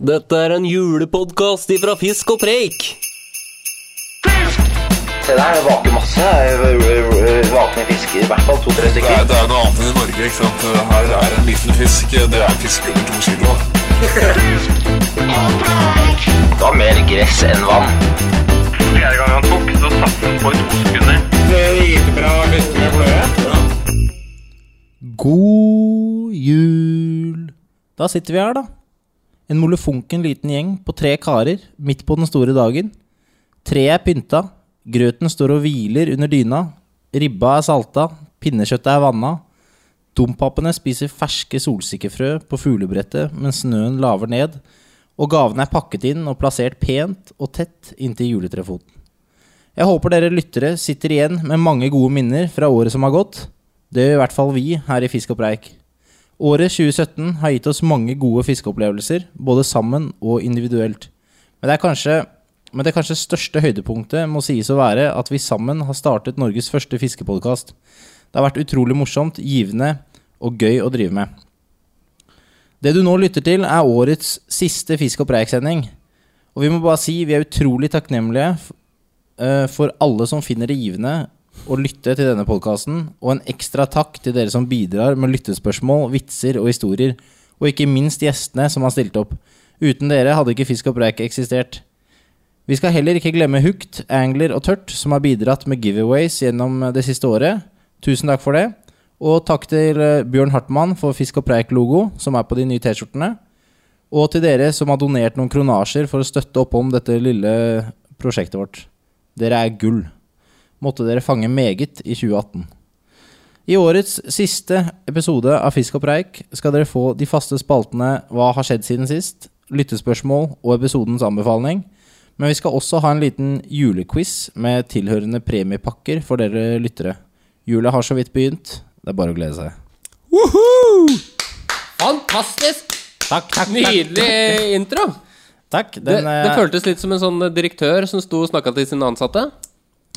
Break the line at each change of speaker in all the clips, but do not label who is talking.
Dette er en julepodkast ifra Fisk og Preik.
Se der, det vaker masse. Vakne fisker, i hvert fall to-tre
Det
stykker.
er, det er noe annet enn i Norge. ikke sant? Her er en liten fisk. Det er en fisk under to kilo.
Det var mer gress enn vann.
Fjerde gang han tok, så satt han på i to sekunder.
God jul! Da sitter vi her, da. En molefonken liten gjeng på tre karer midt på den store dagen. Treet er pynta, grøten står og hviler under dyna, ribba er salta, pinnekjøttet er vanna. Dompapene spiser ferske solsikkefrø på fuglebrettet mens snøen laver ned, og gavene er pakket inn og plassert pent og tett inntil juletrefoten. Jeg håper dere lyttere sitter igjen med mange gode minner fra året som har gått. Det gjør i hvert fall vi her i Fisk og Preik. Året 2017 har gitt oss mange gode fiskeopplevelser, både sammen og individuelt. Men det, er kanskje, men det kanskje største høydepunktet må sies å være at vi sammen har startet Norges første fiskepodkast. Det har vært utrolig morsomt, givende og gøy å drive med. Det du nå lytter til, er årets siste Fisk og Preik-sending. Og vi må bare si vi er utrolig takknemlige f- eh, for alle som finner det givende å lytte til denne podkasten, og en ekstra takk til dere som bidrar med lyttespørsmål, vitser og historier, og ikke minst gjestene som har stilt opp. Uten dere hadde ikke Fisk og Preik eksistert. Vi skal heller ikke glemme Hooked, Angler og Tørt, som har bidratt med giveaways gjennom det siste året. Tusen takk for det. Og takk til eh, Bjørn Hartmann for Fisk og Preik-logo, som er på de nye T-skjortene. Og til dere som har donert noen kronasjer for å støtte opp om dette lille prosjektet vårt. Dere er gull. Måtte dere fange meget i 2018. I årets siste episode av Fisk og preik skal dere få de faste spaltene Hva har skjedd siden sist?, lyttespørsmål og episodens anbefaling. Men vi skal også ha en liten julequiz med tilhørende premiepakker for dere lyttere. Jula har så vidt begynt. Det er bare å glede seg.
Fantastisk!
Takk, takk,
Nydelig intro.
takk.
Det,
Den,
det
eh,
føltes litt som en sånn direktør som sto og snakka til sine ansatte.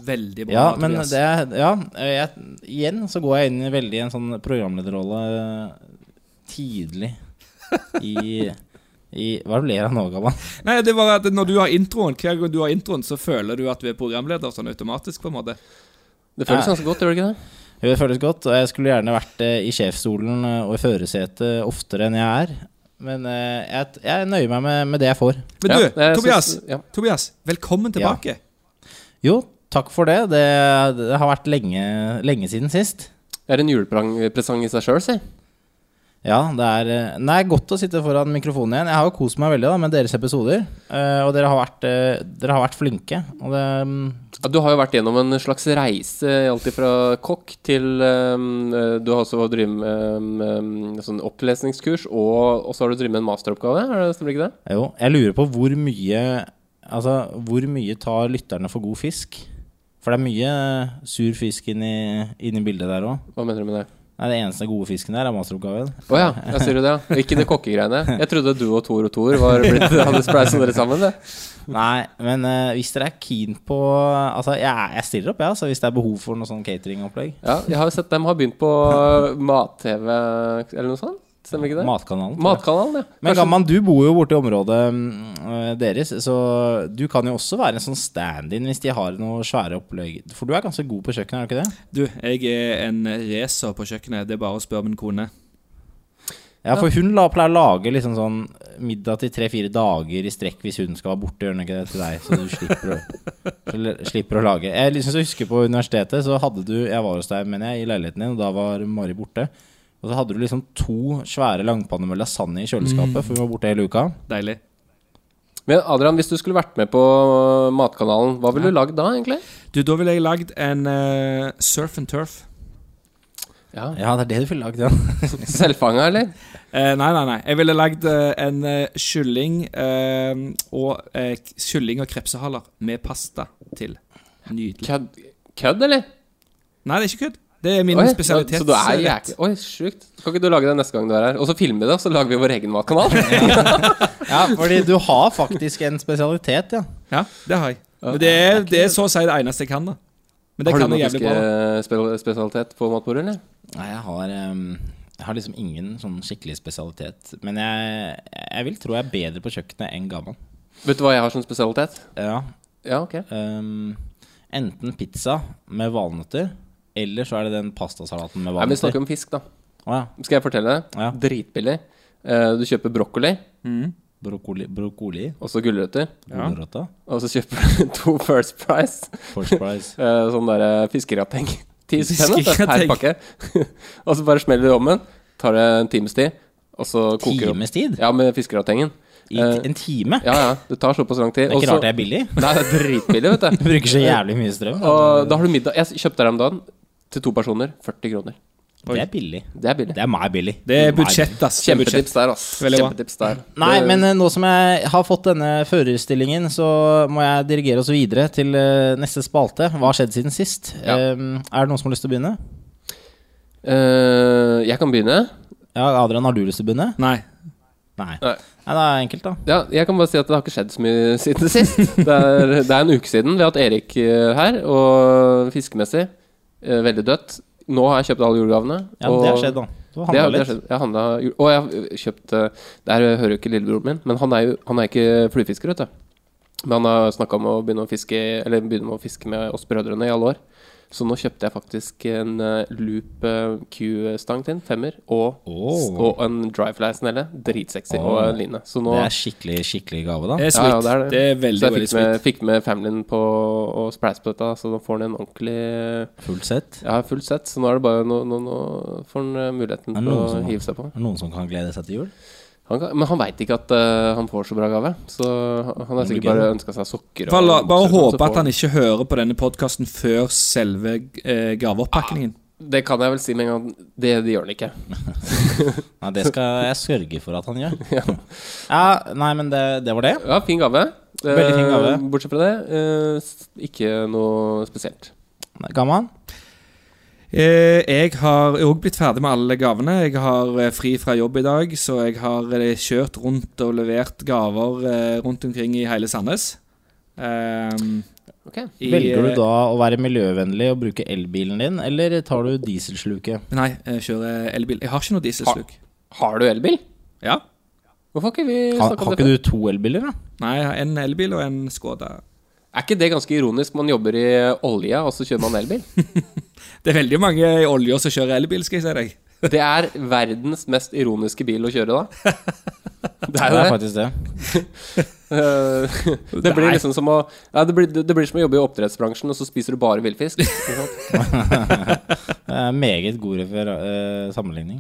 Veldig bra,
Ja, men
Tobias.
det er, ja, jeg, igjen så går jeg inn i veldig en sånn programlederrolle eh, tidlig i, i Hva ler jeg nå, gammel?
Nei, det var at når du har introen, hver gang du har introen, så føler du at du er programleder sånn automatisk, på en måte.
Det føles ganske godt, gjør det ikke det?
Det føles godt, og jeg skulle gjerne vært eh, i sjefsstolen eh, og i førersetet oftere enn jeg er. Men eh, jeg, jeg nøyer meg med, med det jeg får.
Men
Ja,
du,
jeg synes-
Tobias,
ja.
Tobias, velkommen
Ja.
tilbake.
Jo, takk for det. Det, det har vært lenge, lenge siden sist.
Det er en julepresang i seg sjøl, si.
Ja, det er eh, Nei, godt å sitte foran mikrofonen igjen. Jeg har jo kost meg veldig da med deres episoder. eh, Og dere har vært, eh, dere har vært flinke. Og det mm,
Ja, Du har jo vært gjennom en slags reise, alt ifra kokk til ehm, eh, Du har også drevet med ehm, ehm, sånn opplesningskurs, og, og så har du drevet med en masteroppgave? Er det, stemmer ikke det?
Jo, jeg lurer på hvor mye Altså, hvor mye tar lytterne for god fisk? For det er mye eh, sur fisk inni, inni bildet der òg.
Hva mener du med det?
Nei, det eneste gode fisken der er masteroppgaven.
Å ja, ja, sier du det? ja Ikke de kokkegreiene. Jeg trodde du og Tor og Tor var blitt, hadde spleisa dere sammen. Det.
Nei, men eh, hvis dere er keen på Altså, jeg, er- jeg stiller opp, jeg, altså, hvis det er behov for noe sånn cateringopplegg.
Ja, jeg har jo sett dem har begynt på mat-TV eller noe sånt. Stemmer ikke det?
Matkanalen. tror jeg.
Matkanalen, ja.
Men
Kanskje-
Gamman, du bor jo borti området mm, eh, deres, så du kan jo også være en sånn stand-in hvis de har noe svære opplegg. For du er ganske god på kjøkkenet, er du ikke det?
Du, jeg er en racer på kjøkkenet. Det er bare å spørre min kone.
Ja, for hun la, pleier å lage liksom sånn middag til tre-fire dager i strekk hvis hun skal være borte, gjør hun ikke det til deg? Så du slipper å, så l- slipper å lage. Jeg liksom så husker på universitetet, så hadde du Jeg var hos deg, mener jeg, i leiligheten din, og da var Mari borte. Og så hadde du liksom to svære langpanner med lasagne i kjøleskapet, for hun var borte hele uka.
Deilig.
Men Adrian, hvis du skulle vært med på Matkanalen, hva ville du lagd da, egentlig?
Du, da ville jeg lagd en eh, surf and turf.
Ja.
Ja, det er det du ville lagd, ja.
Selvfanga, eller?
Eh, nei, nei, nei. Jeg ville lagd eh, en eh, kylling eh, og eh, k- kylling og krepsehaler med pasta til. Nydelig.
Kødd, kødd eller?
Nei, det er ikke kødd. Det er min
Oi,
spesialitet.
Så du er
eh,
jæklig Oi, sjukt. Kan ikke du lage det neste gang du er her? Og så filme det, og så lager vi vår egen matkanal?
ja. Fordi du har faktisk en spesialitet, ja.
Ja, det har jeg. Men det er, det er så å si det eneste jeg kan, da. Men det
Har du
kan
noen
jeg jævlig bra. da.
fiskespesialitet på matbordet, eller?
Nei, jeg har em, Jeg har liksom ingen sånn skikkelig spesialitet. Men jeg, jeg vil tro jeg er bedre på kjøkkenet enn gammel.
Vet du hva jeg har som spesialitet?
Ja,
Ja, ok.
øhm, enten pizza med valnøtter, eller så er det den pastasalaten
Nei,
med
men vi
valnøtter.
snakker om fisk, da.
Å ja.
Skal jeg fortelle deg?
Ja.
Dritbillig. Eh, Du kjøper brokkoli,
Brokkoli, brokkoli
og så gulrøtter.
Ja.
gulrøtta,
Og så kjøper du to First Price.
First Price.
Eh, Sånn derre fiskerateng. Ti spenn vet du, per
Fiskerateng.
pakke. Og så bare smeller du om den. Tar det en times tid, og så koker du opp.
Times tid?
Ja, med fiskeratengen.
I
Eh,
ti- en time?
Ja, ja. Det tar såpass lang tid.
Det er ikke rart det er billig.
Nei, det er dritbillig, vet
Du
du.
bruker så jævlig mye strøm.
Og da har du middag. Jeg kjøpte her om dagen til to personer. 40 kroner.
Det er billig.
Det er billig.
Det er meg billig.
Det er
Meg
budsjett, ass. Det er budsjett.
Kjempetips der, ass.
Veldig bra.
Kjempetips der.
Nei,
Det-
men eh, nå som jeg har fått denne førerstillingen, så må jeg dirigere oss videre til eh, neste spalte. Hva har skjedd siden sist?
Ja.
Eh, er det noen som har lyst til å begynne?
Eh, Jeg kan begynne.
Ja, Adrian, har du lyst til å begynne?
Nei.
Nei.
Nei.
Nei, det er enkelt, da.
Ja, jeg kan bare si at det har ikke skjedd så mye siden sist. Det er, det er en uke siden. Vi har hatt Erik eh, her, og fiskemessig eh, veldig dødt. Nå har jeg kjøpt alle julegavene.
Ja, men
og
det har skjedd, da. Du har
Det har, det
handla
har
litt.
skjedd. Jeg handla jul- Og jeg har kjøpt eh, Det her hører jo ikke lillebroren min, men han er jo han er ikke fluefisker, vet du. Men han har snakka om å begynne å fiske Eller begynne med å fiske med oss brødrene i alle år. Så nå kjøpte jeg faktisk en eh, loop eh, Q-stang til en femmer, og,
Åh.
og en dry fly-snelle. Dritsexy. Og
Åh.
en line. Så nå
Det er skikkelig, skikkelig gave, da.
Det er
Ja, ja,
sweet.
det er det.
det er veldig,
så jeg
veldig
fikk med,
sweet.
fikk med familien på å spleise på dette, så nå får han en ordentlig
Fullt sett.
Ja, fullt sett. Så nå er det bare Nå, nå, nå får han eh, muligheten
Er det
til å
noen som-
hive seg på.
Er det noen som kan glede seg til jul?
Han kan, men han veit ikke at eh, han får så bra gave, så han han har sikkert bare ønska seg sokker. og-
Bare, bare
så får
håpe at han ikke hører på denne podkasten før selve eh, gaveoppakningen.
Det kan jeg vel si med en gang. Det, det gjør han ikke.
Nei, det skal jeg sørge for at han gjør. ja. Nei, men det, det var det.
Ja, fin gave. Eh,
Veldig fin gave.
Bortsett fra det, eh, s- ikke noe spesielt.
Gamman?
Eh, jeg har òg blitt ferdig med alle gavene. Jeg har eh, fri fra jobb i dag, så jeg har eh, kjørt rundt og levert gaver eh, rundt omkring i hele Sandnes. Ehm,
Ok.
i,
Velger du
eh,
da å være miljøvennlig og bruke elbilen din, eller tar du dieselsluket?
Nei, jeg kjører elbil. Jeg har ikke noe dieselsluk.
Har du elbil?
Ja.
Hvorfor har ikke vi
Har,
snakka om
har
det?
ikke du to elbiler, da?
Nei, jeg har en elbil og en Skoda.
Er ikke det ganske ironisk? Man jobber i olja, og så kjører man elbil.
Det er veldig mange i olja som kjører elbil, skal jeg si deg.
Det er verdens mest ironiske bil å kjøre, da. Det er jo det.
faktisk det.
Eh, Det blir
Nei.
liksom som å Nei, det, blir, det blir som å jobbe i oppdrettsbransjen, og så spiser du bare villfisk. ikke sant?
det er meget god refer eh, sammenligning.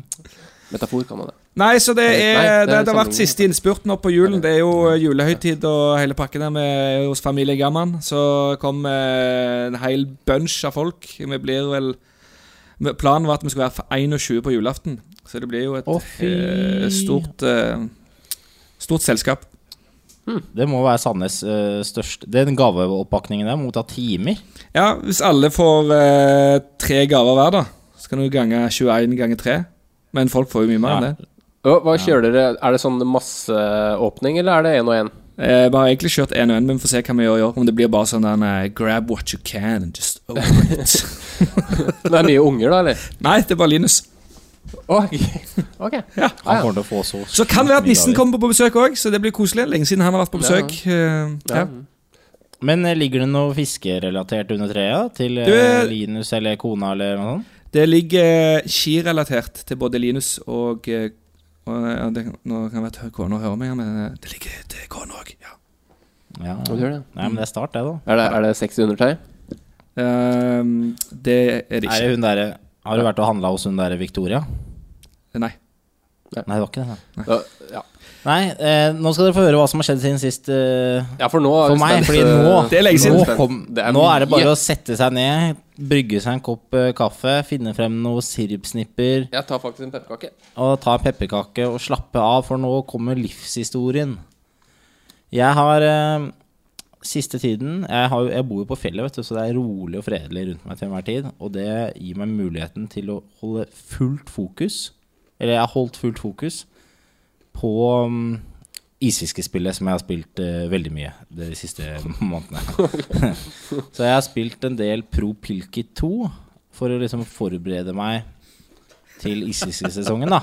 Metafor kan man det.
Nei, så det, er,
Nei, det er
det, det har vært
sammenlignet.
siste innspurt nå på julen. Det er jo eh, julehøytid og hele pakken der med, hos familie Gamman. Så kom eh, en hel bunch av folk. Vi blir vel men Planen var at vi skulle være for 21 på julaften. Så det blir jo et
Å, fy.
eh, stort eh, Stort selskap.
Det må være Sandnes eh, største Den gaveoppakningen der må ta timer.
Ja, hvis alle får eh, tre gaver hver, da, så kan du gange 21 ganger 3. Men folk får jo mye mer
Ja.
enn det.
Å, Hva kjører dere? Er det sånn masseåpning, eller er det én og én?
Eh, bare egentlig kjørt én og én, men vi får se hva vi gjør i år. Om det blir bare sånn der eh, Grab what you can and just open it.
Det er mye unger, da, eller?
Nei, det er bare Linus.
Ok. ok.
Ah, Ja.
Han kommer til å få så
Så kan det være at nissen kommer på besøk òg, så det blir koselig. Lenge siden han har vært på besøk. Eh, ja.
Men eh, ligger det noe fiskerelatert under treet? Til eh,
Du, eh,
Linus eller kona eller noe sånt?
Det ligger eh, skirelatert til både Linus og, eh, og eh, det, Nå kan det være at kona hører meg, men eh, det ligger til kona òg. Ja.
Ja.
Hva gjør det?
Nei, men det er start, det, da.
Er det, er det sexy undertøy?
Eh, det er det
Er det
ikke.
hun derre Har du vært og handla hos hun derre Victoria?
Nei.
Nei, det var ikke det. da.
Da- Ja.
Nei, eh, nå skal dere få høre hva som har skjedd siden sist. eh,
ja, for nå er
For
vi
meg,
spent,
fordi
eh,
nå,
Det er lenge siden.
nå, kom,
Det er
nå er det bare
mye.
å sette seg ned, brygge seg en kopp eh, kaffe, finne frem noen sirupsnipper
Jeg tar faktisk en pepperkake.
og ta en pepperkake og slappe av, for nå kommer livshistorien. Jeg har eh, siste tiden jeg, har, jeg bor jo på fjellet, vet du, så det er rolig og fredelig rundt meg til enhver tid. Og det gir meg muligheten til å holde fullt fokus, eller jeg har holdt fullt fokus, på um, isfiskespillet som jeg har spilt eh, veldig mye de siste månedene. så jeg har spilt en del Pro Pilki 2 for å liksom forberede meg til isfiskesesongen, da.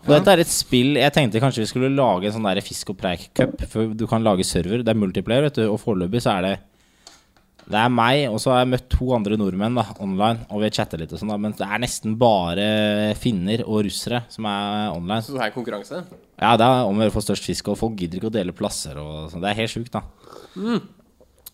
Og dette er et spill jeg tenkte kanskje vi skulle lage en sånn der fisk og preik-cup. For du kan lage server. Det er multiplayer, vet du. Og foreløpig så er det Det er meg, og så har jeg møtt to andre nordmenn da, online. Og vi har chatta litt og sånn, da. Men det er nesten bare finner og russere som er online.
Så det er konkurranse?
Ja, det er om å gjøre å få størst fisk, og folk gidder ikke å dele plasser og sånn. Det er helt sjukt, da.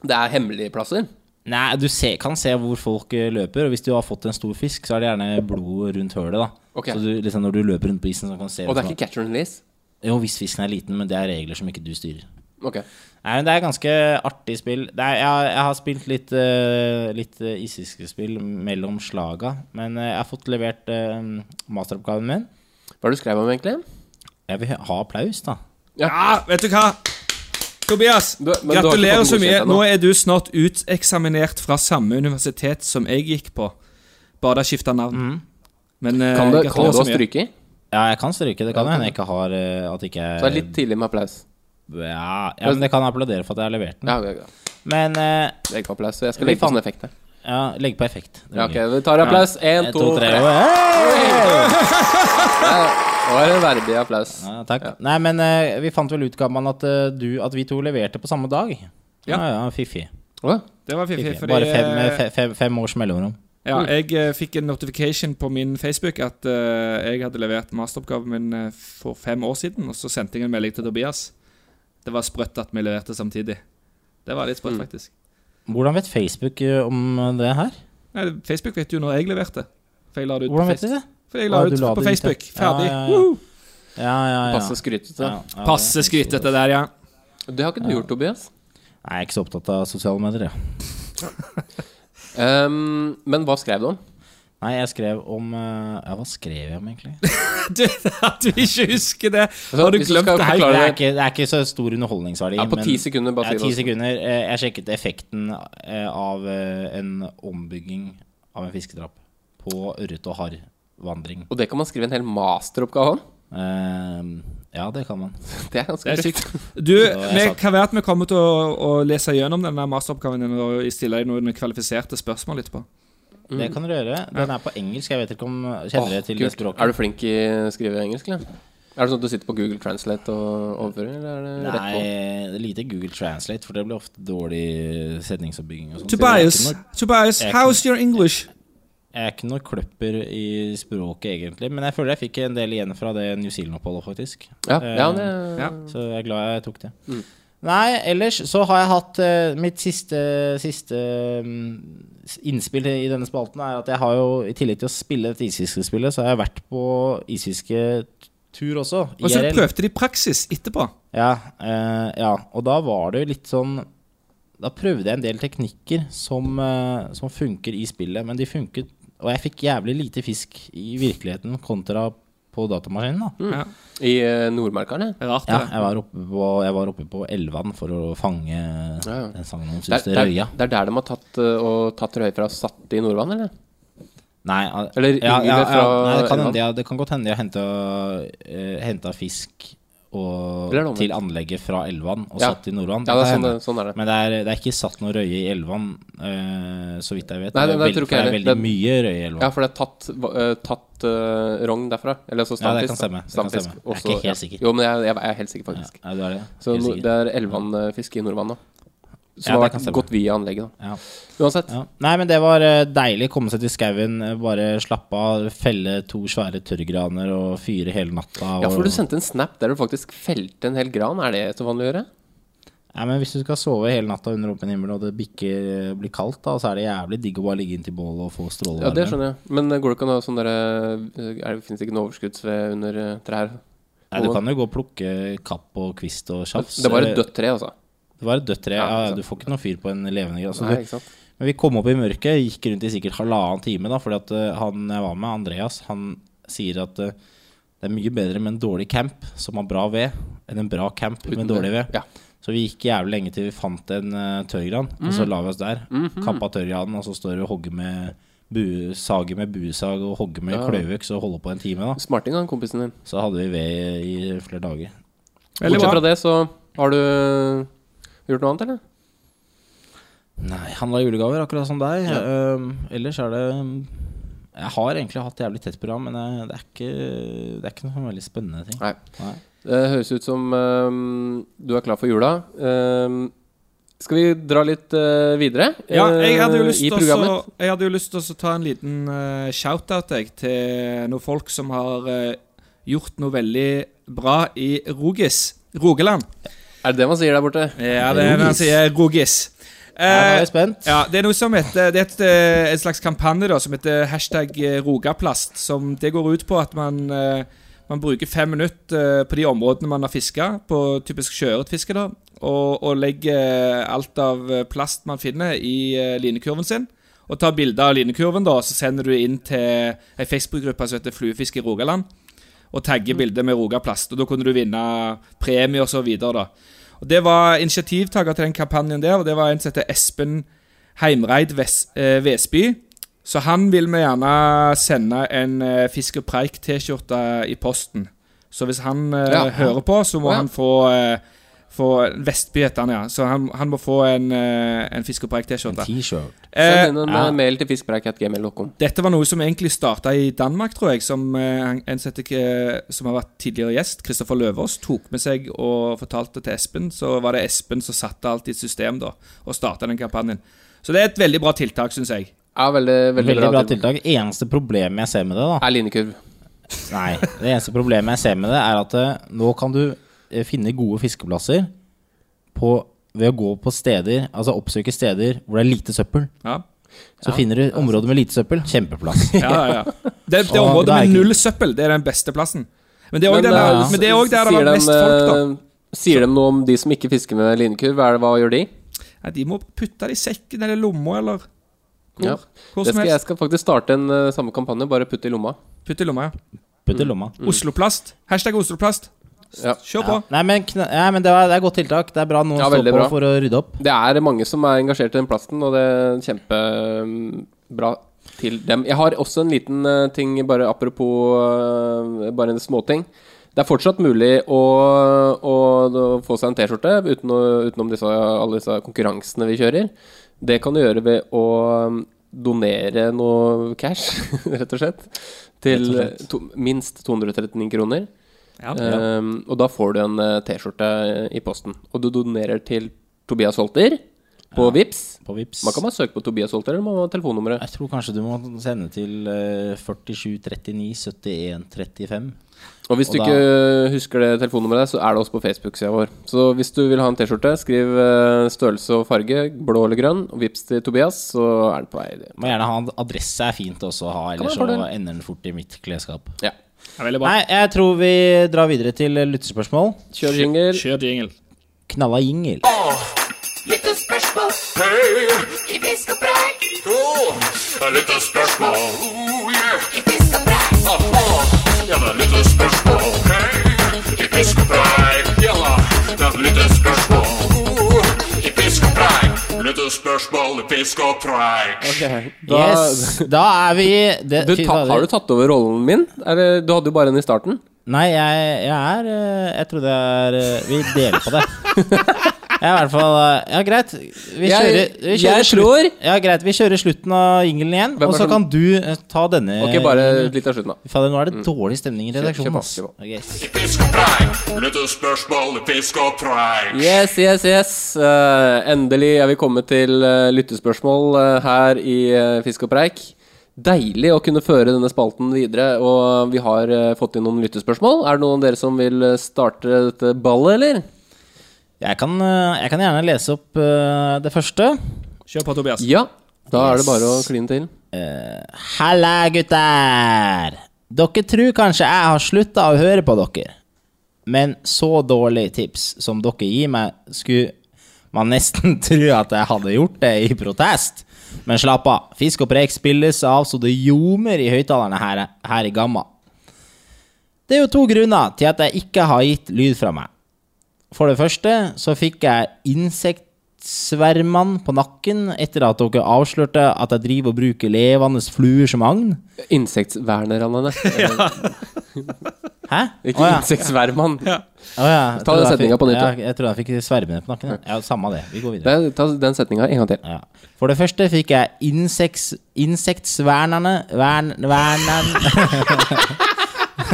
Det er hemmelige plasser?
Nei, du ser, kan se hvor folk eh, løper, og hvis du har fått en stor fisk, så er det gjerne blod rundt hølet, da.
Ok.
Så du, liksom, når du løper rundt på isen, så kan du se
Og det er
sånn-
ikke catch and release?
Jo, hvis fisken er liten, men det er regler som ikke du styrer.
Ok.
Nei, men Det er ganske artig spill. Det er, jeg, har- jeg har spilt litt, uh, litt eh, isfiskespill mellom slaga, men eh, jeg har fått levert eh, masteroppgaven min.
Hva er det du skrev om, egentlig?
Jeg vil ha applaus, da.
Ja, Ah, vet du hva? Tobias,
Du- men du har ikke
gratulerer
fått
så
den
mye.
godkjent ennå.
Nå er du snart uteksaminert fra samme universitet som jeg gikk på. Bare det skifta navn. Men eh,
Kan du, kan
gratulerer
du ha
så mye.
stryket?
Ja, jeg kan stryke. Det kan
Ja,
hende jeg ikke har eh, At ikke
Så det er litt tidlig med applaus.
ja, ja, men det kan jeg applaudere for at jeg har levert den.
Ja, ja, ja.
Men eh,
Det er ikke applaus, så jeg skal
Vi
legge på
fant-
sånn effekt her.
ja, legg på effekt. Det
Ja, ok,
blir gøy.
Vi tar applaus. Én,
En,
to, tre.
og- Hey!
Det var en verdig applaus.
Ja, takk. Nei, men eh, vi fant vel ut, Gamman, at, eh, du, at vi to leverte på samme dag. Ja, ja, fiffig.
Åh,
Det var fiffig,
fiffig.
fordi
Bare fem,
eh,
eh, fe, fe, fem års mellomrom.
ja, jeg eh, fikk en notification på min Facebook at eh, jeg hadde levert masteroppgaven min eh, for fem år siden, og så sendte jeg en melding til Tobias. Det var sprøtt at vi leverte samtidig. Det var litt
Mm.
sprøtt, faktisk.
Hvordan vet Facebook eh, om det her?
Nei, Facebook vet jo når jeg leverte. For jeg la det ut
Hvordan
på
vet de
Facebook.
det?
For jeg la
Ah,
det
du la
ut på
det ut, ja.
Facebook.
Ja, ja,
Ferdig.
ja.
Woohoo!
Ja, ja, ja.
Passe skrytete.
Ja, ja,
Passe
det-
skrytete der, ja.
Det har ikke du gjort, Tobias.
Nei, Jeg er ikke så opptatt av sosiale medier, jeg.
Ehm, men hva skrev du om?
Nei, jeg skrev om eh, Ja, hva skrev jeg om, egentlig?
Du, at du ikke husker det! Har du
Hvis du
glemt
skal
det helt?
Det
forklare
er,
det
ikke, det er ikke så stor underholdningsverdi.
ja, på
men-
ti sekunder, bare
Ja,
si
ti
det.
sekunder. Eh, Jeg sjekket effekten eh, av eh, en ombygging av en fisketrapp på ørret og harrvandring.
Og det kan man skrive en hel masteroppgave om.
Eh, Ja, det kan man.
Det er ganske
Det er
sykt.
sykt. Du,
er
vi
sant.
kan være at vi kommer til å, å lese gjennom denne masteroppgaven din og stille deg noen kvalifiserte spørsmål etterpå.
Mm.
Det kan dere gjøre. Den er på engelsk. Jeg vet ikke om Kjenner dere til det språket?
Er du flink i å skrive engelsk, eller? Er det sånn at du sitter på Google Translate og overfører, eller er det rett på?
Nei, det er lite Google Translate, for det blir ofte dårlig setningsoppbygging. og sånt, så
Tobias,
Jeg er ikke noe-
Tobias,
Jeg er ikke
how's your English?
jeg er ikke noe kløpper i språket, egentlig. Men jeg føler jeg fikk en del igjen fra det New Zealand-oppholdet, faktisk.
Ja,
Eh,
ja, det,
ja.
Så jeg er glad jeg tok det. Nei, ellers så har jeg hatt eh, Mitt siste, siste mm, s- innspill i denne spalten er at jeg har jo, i tillegg til å spille dette isfiskespillet, så har jeg vært på isfisketur også.
Og så
IRL.
prøvde de praksis etterpå.
Ja, eh, ja, og da var det jo litt sånn Da prøvde jeg en del teknikker som, eh, som funker i spillet, men de funket Og jeg fikk jævlig lite fisk i virkeligheten kontra på datamaskinen, da.
Ja,
I eh, Nordmarka, eller?
rart
Mm. Ja,
det.
jeg var oppe på, jeg var oppe på elvan for å fange
ja.
den sangen om
Det er,
Syste
det,
Røya.
er, det er der de har tatt, eh, og tatt røye fra og satt det i Nordvann, eller?
Nei, al-
Eller
ja,
yngre
ja, ja,
fra
nei, det, kan
elvan.
hende, jeg- det kan godt hende jeg henta, eh, henta fisk og,
Eller er det omvendt?
til anlegget fra elvan og
Ja.
satt i Nordvann.
Ja, det er
Det kan
sånn, det,
hende.
sånn er det.
Men det er, det er ikke satt noe røye i elvan, eh, så vidt jeg
Nei,
vet. det, er
det- det
veld-
tror ikke jeg
for det er
heller.
veldig mye røye i elvan.
Ja, for det er tatt, va- eh, tatt eh, rogn derfra. Eller så
Ja,
stamfisk.
det
da.
kan stemme. Det kan
Stamfisk,
stemme.
og
Jeg er ikke
så-
helt sikker.
Jo, men jeg, jeg er helt sikker, faktisk.
Ja, du er det?
Så
Helt
no-
sikker.
det er elvanfiske i Nordvann, da. Som
Ja, det
har
kan
vært
stemme.
gått via anlegget, da.
Ja.
Uansett.
Ja. Nei, men det var eh, deilig. Komme seg til skauen, eh, bare slappe av, felle to svære tørrgraner og fyre hele natta. Og...
Ja, for du sendte en snap der du faktisk felte en hel gran. Er det så vanlig å gjøre?
Nei, men hvis du skal sove hele natta under åpen himmel, og det bikker, eh, blir kaldt, da, så er det jævlig digg å bare ligge inntil bålet og få strålevarme.
Ja, det skjønner jeg. Men eh, går det ikke an å ha sånn derre eh, er- Finnes det ikke noe overskuddsved under eh, trær?
Nei, du kan jo gå og plukke kapp og kvist og tjafs.
Det var et dødt tre, altså.
Det var et dødt tre.
Ja,
Ja,
ikke sant.
du får ikke noe fyr på en levende grann. Så
Nei,
du-
ikke sant?
Men vi kom opp i mørket, gikk rundt i sikkert halvannen time, da, fordi at eh, han jeg var med, Andreas, han sier at eh, det er mye bedre med en dårlig camp som har bra ved, enn en bra camp med dårlig ved.
Ja.
Så vi gikk jævlig lenge til vi fant en eh, tørrgran, og
Mhm.
så la vi oss der.
Mhm.
Kappa tørrgranen, og så altså står vi og hogger med bue, sager med buesag og hogger med
Ja.
kløyvøks og holder på en time, da.
Smarting, han kompisen din.
Så hadde vi ved i flere dager.
Veldig
Bortsett
bra.
fra det, så har du gjort noe annet, eller?
Nei, handla julegaver, akkurat som deg. Ehm, ellers er det Jeg har egentlig hatt jævlig tett program, men jeg, det, er ikke, det er ikke noen veldig spennende ting.
Nei.
Nei.
Det høres ut som ehm, du er klar for jula. Ehm, skal vi dra litt eh, videre
Ja, jeg hadde jo
eh,
lyst
i
til
programmet?
å- jeg hadde jo lyst til å ta en liten eh, shout-out jeg, til noen folk som har eh, gjort noe veldig bra i Rogis. Rogaland.
Er det det man sier der borte?
Ja, det er det han sier. Rogis.
Ja, nå er
Eh,
jeg spent.
ja, det er noe som heter Det er et, eh, en slags kampanje da som heter hashtag eh, rogaplast. Som det går ut på at man, eh, man bruker fem minutter eh, på de områdene man har fiska, på typisk sjøørretfiske, da, og, og legger eh, alt av eh, plast man finner, i eh, linekurven sin. Og tar bilde av linekurven, da, og så sender du inn til ei Facebook-gruppe som heter Fluefisk i Rogaland. Og tagger bildet med Rogaplast. Og da kunne du vinne premie og så videre, da. Og Det var initiativtaker til den kampanjen der, og det var en som heter Espen Heimreid Ves eh, Vesby. Så han vil vi gjerne sende en eh, Fisk og Preik-T-skjorte i posten. Så hvis han eh,
Ja.
hører på, så må
Ja.
han få, eh, få Vestby heter han, ja. Så han, han må få en, eh, en Fisk og
En
Preik-T-skjorte.
T-shirt.
Send
Eh,
inn en
ja.
eh, mail til fiskpreik.gmail.com.
dette var noe som egentlig starta i Danmark, tror jeg. Som eh, han- en som heter, eh, som har vært tidligere gjest, Kristoffer Løvaas, tok med seg og fortalte til Espen. Så var det Espen som satte alt i system da, og starta den kampanjen. Så det er et veldig bra tiltak, syns jeg.
Ja, veldig, veldig,
Veldig bra
bra.
tiltak. Eneste problemet jeg ser med det, da
Er linekurv.
Nei, det eneste problemet jeg ser med det, er at eh, nå kan du eh, finne gode fiskeplasser på, ved å gå på steder, altså oppsøke steder hvor det er lite søppel.
Ja,
Så finner du områder med lite søppel, kjempeplass.
ja, ja, ja. Det, det
Og
området
det er
med
ikke-
null søppel, det er den beste plassen. Men det er òg der,
eh,
men det er også der det
sier
var
dem,
mest folk, da.
eh, Sier de noe om de som ikke fisker med linekurv? Hva, er det, hva gjør de?
Nei, de må putte det i sekken eller lomma eller hvor,
Ja.
hvor
Det
som
skal, jeg
helst.
skal faktisk starte en eh, samme kampanje, bare putte i lomma.
Putt i lomma, ja.
Putt i lomma.
Osloplast. Hashtag Osloplast.
Ja.
Kjør på.
Ja. Nei, men, kn nei, men det, er, det er godt tiltak. Det er bra noen
Ja,
står
veldig
på
bra.
for å rydde opp.
Det er mange som er engasjert i den plasten, og det er kjempebra til dem. Jeg har også en liten eh, ting, bare apropos eh, bare en småting. Det er fortsatt mulig å, å, å få seg en T-skjorte uten å- utenom disse, alle disse konkurransene vi kjører. Det kan du gjøre ved å eh, donere noe cash, rett og slett, til eh, to, minst 239 kroner. Ehm, og da får du en eh, T-skjorte i posten. Og du donerer til Tobias Holter på Vips
På Vips.
Man kan bare søke på Tobias Holter, eller man må ha telefonnummeret.
Jeg tror kanskje du må sende til eh, 47 39 71 35.
Og hvis du
og da-
ikke eh, husker det telefonnummeret, så er det oss på Facebook-sida vår. Så hvis du vil ha en T-skjorte, skriv eh, størrelse og farge, blå eller grønn, og vips til Tobias, så er det på vei.
Må gjerne ha en adresse er fint også å ha,
Kan
ellers så
være en fordel.
ender den fort i mitt klesskap.
Ja.
Ja, veldig bra.
Nei, jeg tror vi drar videre til eh, lyttespørsmål.
Kjør jingle.
Kjør jingle.
Knalla jingle.
Det er litt av spørsmål. Oh, yeah. Aha. Ja, det er litt av spørsmål. Hei, i fisk og preik. Ja, det er litt av spørsmål. Oh, I fisk og preik. Litt av spørsmål i fisk og preik.
Da,
yes, da er vi det,
du
fy
ta,
fader.
har du tatt over rollen min? Er det, du hadde jo bare en i starten.
Nei, jeg, jeg er eh, Jeg tror det er eh, Vi deler på det. Jeg er i hvert fall eh, Ja, greit. Vi
Jeg-
kjører, vi
jeg
kjører
slår.
slutt- Ja, greit. Vi kjører slutten av jinglen igjen,
Hvem er
og så
som-
kan du eh, ta denne.
Ok, bare litt av slutten, da.
Fy Fader, nå er det dårlig stemning i
Kjør- kjør
redaksjonen.
på,
ass.
kjør
Ok.
I fisk og preik. Litt av spørsmål i fisk og preik.
Yes, yes, yes. Eh, endelig er vi kommet til eh, lyttespørsmål eh, her i eh, Fisk og preik. Deilig å kunne føre denne spalten videre, og vi har eh, fått inn noen lyttespørsmål. Er det noen av dere som vil eh, starte dette ballet, eller?
Jeg kan, eh, jeg kan gjerne lese opp eh, det første.
Kjør på, Tobias.
Ja. Da er det bare å kline til.
Halla, gutter! Dere tror kanskje jeg har slutta å høre på dere. Men så dårlige tips som dere gir meg, skulle man nesten tro at jeg hadde gjort det i protest. Men slapp av. Fisk og preik spilles av så det ljomer i høyttalerne her, her i Gamma. Det er jo to grunner til at jeg ikke har gitt lyd fra meg. For det første så fikk jeg insekt... insektsvermene på nakken etter at dere avslørte at jeg driver og bruker levende fluer som agn?
Insektsvernerne. Ja.
Hæ?
Ikke
Å ja.
insektsvermann.
Å ja.
Ta
Jeg
den
trodde jeg fikk-
setninga på nytt, da.
Ja, jeg tror jeg fikk svermene på nakken. Ja. ja, Samme det. Vi går videre.
Det er- Ta den setninga en gang til.
Ja. For det første fikk jeg insekts, insektsvernerne vern, Vernen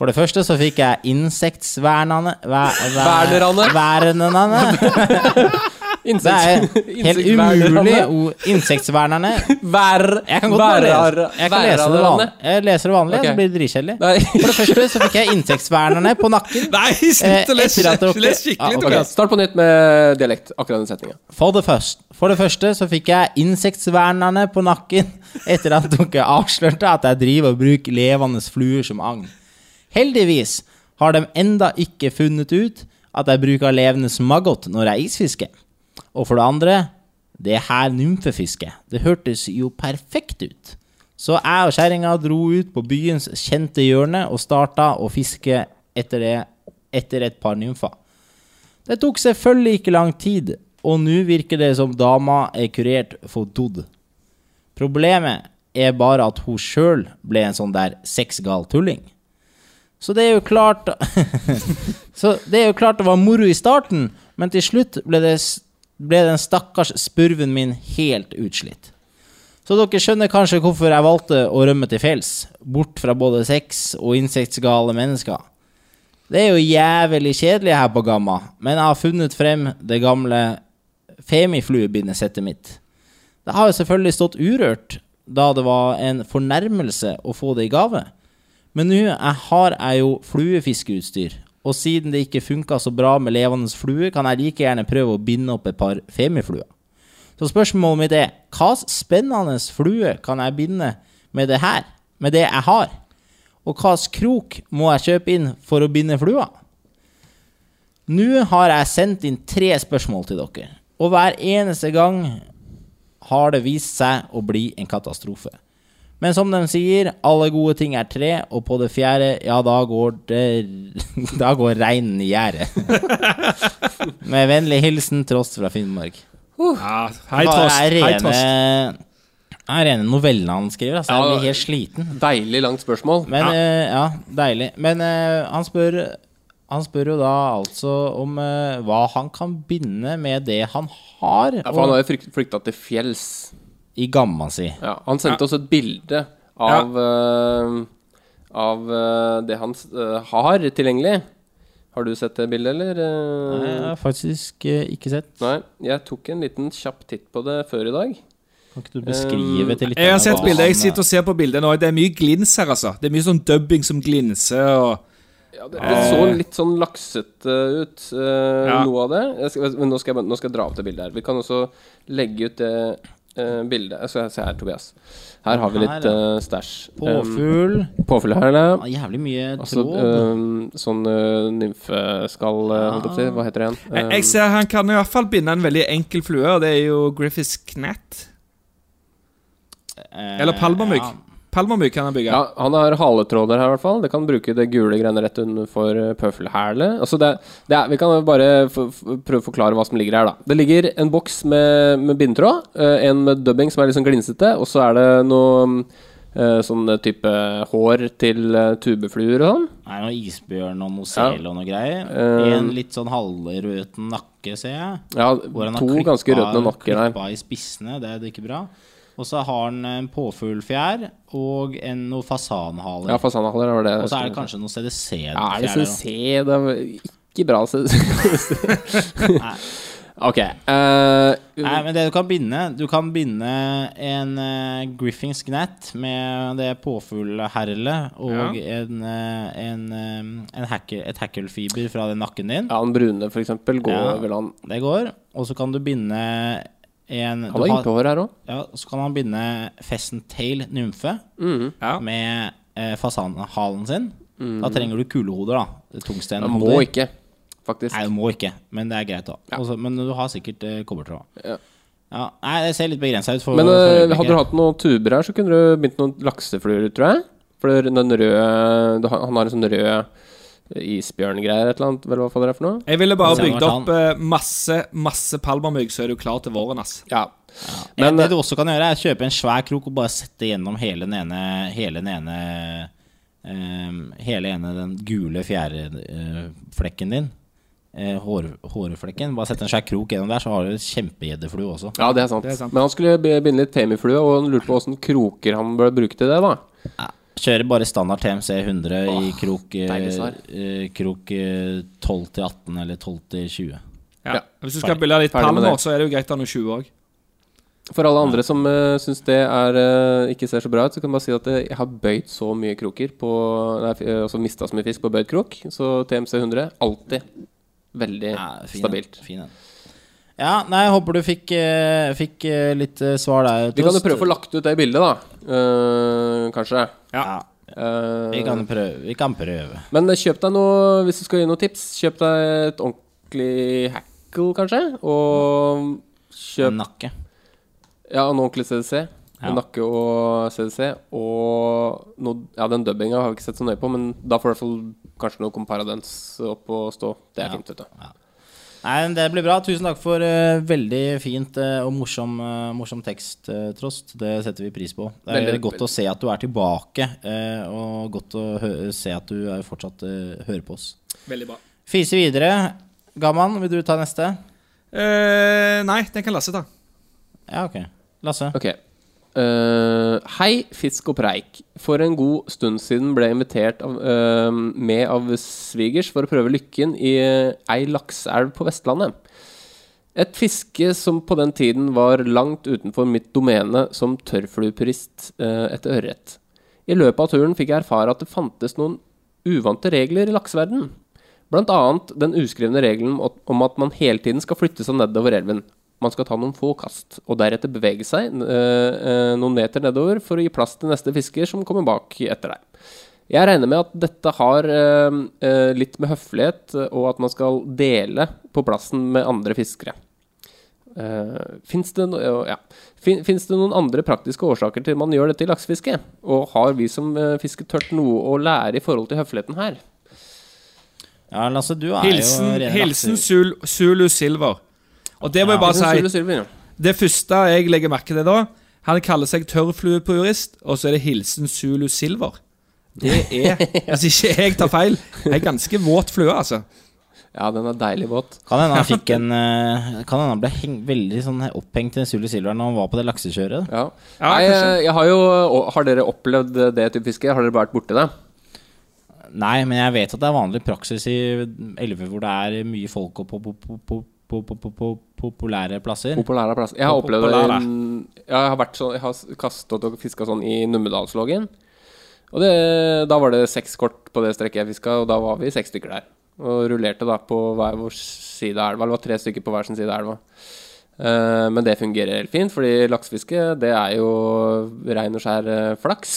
For det første så fikk jeg insektsvernerne ver,
Vernerne.
Vernerne. Det er
Insekts-
helt
insektsvernerne.
umulig ord. Insektsvernerne.
Vær...
Jeg kan godt bare lese,
værer-
jeg kan lese det vanlige.
værerne.
Jeg leser det vanlige,
Ok.
så blir det dritkjedelig.
Nei.
For det første så fikk jeg insektsvernerne på nakken.
Nei,
Eh,
slutt å lese
etter at dere-
les
Ja,
skikkelig,
ok.
Ok,
Tobias.
Start på nytt med dialekt. Akkurat den setninga.
For det, først, for det første så fikk jeg insektsvernerne på nakken etter at dere avslørte at jeg driver og bruker levende fluer som agn. Heldigvis har de enda ikke funnet ut at jeg bruker levende maggot når jeg isfisker. Og for det andre, det her nymfefisket, det hørtes jo perfekt ut. Så jeg og kjerringa dro ut på byens kjente hjørne og starta å fiske etter, det, etter et par nymfer. Det tok selvfølgelig ikke lang tid, og nå virker det som dama er kurert for dodd. Problemet er bare at hun sjøl ble en sånn der sexgal tulling. Så det er jo klart Så det er jo klart det var moro i starten, men til slutt ble, det, s- ble den stakkars spurven min helt utslitt. Så dere skjønner kanskje hvorfor jeg valgte å rømme til fjells, bort fra både sex og insektgale mennesker. Det er jo jævlig kjedelig her på Gamma, men jeg har funnet frem det gamle Femifluebindesettet mitt. Det har jo selvfølgelig stått urørt, da det var en fornærmelse å få det i gave. Men nå jeg har jeg jo fluefiskeutstyr, og siden det ikke funka så bra med levende flue, kan jeg like gjerne prøve å binde opp et par femifluer. Så spørsmålet mitt er, hva slags spennende flue kan jeg binde med det her, med det jeg har? Og hva slags krok må jeg kjøpe inn for å binde flua? Nå har jeg sendt inn tre spørsmål til dere, og hver eneste gang har det vist seg å bli en katastrofe. Men som de sier, alle gode ting er tre, og på det fjerde, ja, da går det Da går reinen i gjerdet. Med vennlig hilsen Trost fra Finnmark.
Ja, hei,
Det
Trost.
er
Hei,
rene,
Trost.
det er rene novellene han skriver. Altså,
Ja.
jeg blir helt sliten.
Deilig langt spørsmål.
Men ja, ja deilig. Men eh, han, spør, han spør jo da altså om eh, hva han kan binde med det han har
Ja, for han
og-
har jo frykt- flykta til fjells.
i gamma si.
Ja, han sendte oss et bilde av eh, Av eh, det han eh, har tilgjengelig. Har du sett det bildet, eller? Eh,
Nei, Jeg har faktisk eh, ikke sett.
Nei. Jeg tok en liten kjapp titt på det før i dag.
Kan ikke du beskrive til litt
Jeg har sett bildet. Jeg
eh,
sitter og ser på bildet nå. Det er mye glins her, altså. Det er mye sånn dubbing som glinser og
Ja, det, det så litt sånn laksete ut, eh,
Ja.
noe av det. Jeg skal, men nå skal, jeg, bare- nå skal jeg dra opp det bildet her. Vi kan også legge ut det eh, bildet. Jeg skal se her, Tobias. Her har vi litt
Her,
uh, stæsj. Um,
Påfugl.
påfyll her, da.
Ja, jævlig mye
Altså,
tråd.
øhm, sånn øh, nymfeskall, øh, holdt jeg på å si. Hva heter det igjen? Ehm,
Jeg,
Øhm,
jeg ser han kan i hvert fall binde en veldig enkel flue, og det er jo Griffiths knett.
Eh,
Eller palmamygg.
ja.
Palmamygg kan han bygge.
ja, han har haletråder her, i hvert fall. Det kan bruke det gule greiene rett utenfor øh, pøffelhælet. Altså, det, det er, vi kan jo bare f f prøve å forklare hva som ligger her, da. Det ligger en boks med, med bindetråd, øh, en med dubbing som er litt sånn glinsete, og så er det noe øh, sånn type hår til øh, tubefluer og sånn.
Det er noe isbjørn og noe sel og noe greier.
Eh,
en litt sånn halvrøten nakke, ser jeg.
Ja,
Hvor han har
to
klippa-
ganske rødende nakker der.
klippa i spissene, det er jo ikke bra. Og så har han en påfuglfjær og en, noe fasanhaler.
Ja, fasanhaler var det.
og så er det kanskje noe CDC-fjær
Ja, er det sånn C? Det er ikke bra C. ok. eh,
Nei, men det du kan binde Du kan binde en uh, Griffins gnat med det påfuglherlet og en, eh, en, eh, en hacker, et hackelfiber fra den nakken din.
ja, han brune, for eksempel, går
Ja.
vel han
Det går. Og så kan du binde en
Han har
du har-
gypehår her òg.
Ja, så kan han binde Fessenthale nymfe
Ja.
med eh, fasanhalen sin. Da trenger du kulehoder, da.
Han Mm. må
Tungstenhoder.
ikke, faktisk.
Nei, du må ikke, men det er greit, da. Også, men du har sikkert eh, kobbertråd.
Ja.
Ja, Nei, det ser litt begrensa ut. For,
Men
for
eh,
øyeblikket.
hadde du hatt noen tuber her, så kunne du begynt noen laksefluer, tror jeg. For den røde du har- Han har en sånn rød isbjørngreier, et eller annet, vel hva faen det er for noe?
Jeg ville bare
Det hadde
bygd
vært
opp eh, masse masse palmamygg, så er du klar til våren, ass.
Ja.
Men,
Men
Eh,
eh,
det du også kan gjøre, er å kjøpe en svær krok og bare sette gjennom hele den ene Hele den ene ehm, Hele ene den gule fjæreflekken din. Eh, hår, hårflekken. Bare sette en svær krok gjennom der, så har du kjempegjeddeflue også.
Ja, det er sant.
Det er sant.
Men han skulle be- binde litt temiflue, og han lurte på åssen kroker han burde bruke til det, da.
Kjører bare standard TMC 100 i krok, eh,
deilig svar.
eh, krok eh, 12 til 18 eller 12 til 20.
Ja.
Ja.
Hvis du skal bilde litt
Ferdig med
palmer,
det.
så er det jo greit å ha noen 20 òg.
For alle andre som uh, syns det er, eh, ikke ser så bra ut, så kan jeg bare si at eh, jeg har bøyd så mye kroker på Nei, f- eh, altså mista så mye fisk på bøyd krok, så TMC 100 alltid veldig
Ja, fin en.
stabilt.
Fin en. Ja, nei, jeg håper du fikk, eh, fikk eh, litt eh, svar der.
Vi kan jo
Tost.
prøve å få lagt ut det bildet, da. Eh, kanskje.
Ja,
Eh,
vi kan prøve. Vi kan prøve.
Men kjøp deg noe hvis du skal gi noen tips. Kjøp deg et ordentlig hackle, kanskje. Og kjøp
Nakke.
Ja, og noe ordentlig CDC.
Ja.
Nakke og CDC. Og noe, ja, den dubbinga har vi ikke sett så nøye på, men da får du i hvert fall kanskje noe Comparadens opp og stå. Det er
Ja.
fint, vet du.
Nei, men det blir bra. Tusen takk for eh, veldig fint eh, og morsom, eh, morsom tekst, eh, Trost. Det setter vi pris på. Det er
Veldig-
godt å se at du er tilbake, eh, og godt å hø se at du er fortsatt eh, hører på oss.
Veldig bra.
Fise videre. Gaman, vil du ta neste?
Eh, nei, den kan Lasse ta.
Ja, ok. Lasse.
Ok. Eh, hei, Fisk og Preik. For en god stund siden ble jeg invitert av, eh, med av svigers for å prøve lykken i eh, ei lakseelv på Vestlandet. Et fiske som på den tiden var langt utenfor mitt domene som tørrfluepurist eh, etter ørret. I løpet av turen fikk jeg erfare at det fantes noen uvante regler i lakseverdenen. Blant annet den uskrevne regelen om at- om at man hele tiden skal flytte seg nedover elven. Man skal ta noen få kast, og deretter bevege seg eh, eh, noen meter nedover for å gi plass til neste fisker som kommer bak etter deg. Jeg regner med at dette har eh, eh, litt med høflighet, eh, og at man skal dele på plassen med andre fiskere. Uh, Fins det, no ja, ja. Fin- finnes det noen andre praktiske årsaker til man gjør dette i laksefisket? Og har vi som eh, fisker tørt noe å lære i forhold til høfligheten her?
Ja, Lasse, du er jo
Hilsen,
rene
hilsen
lakse-
Sul, Zulu Silver. Og det må jeg bare si.
Sule Sylvi, ja.
Det første jeg legger merke til da Han kaller seg tørrfluepurist, og så er det hilsen Zulu Silver. Det er Hvis ikke jeg tar feil, ei ganske våt flue, altså.
ja, den er deilig våt.
Kan hende han fikk en eh, Kan hende han ble heng, veldig sånn opphengt i den Sule Silver når han var på det laksekjøret.
Ja.
Ja,
Nei,
kanskje.
eh, jeg har jo og Har dere opplevd eh, det type fiske? Har dere vært borti det?
Nei, men jeg vet at det er vanlig praksis i elver hvor det er mye folk og på, på, på, på, på, på, på, på populære plasser.
Populære plass. Jeg har
Pop-
opplevd det
populære.
i- ja, jeg har, vært sånn, jeg har kastet og fiska sånn i Numedalslågen. Og det, da var det seks kort på det strekket jeg fiska, og da var vi seks stykker der. Og rullerte da på hver vår side av elva. Eller det var tre stykker på hver sin side av elva. Eh, men det fungerer helt fint, fordi laksefiske det er jo rein og skjær eh, flaks.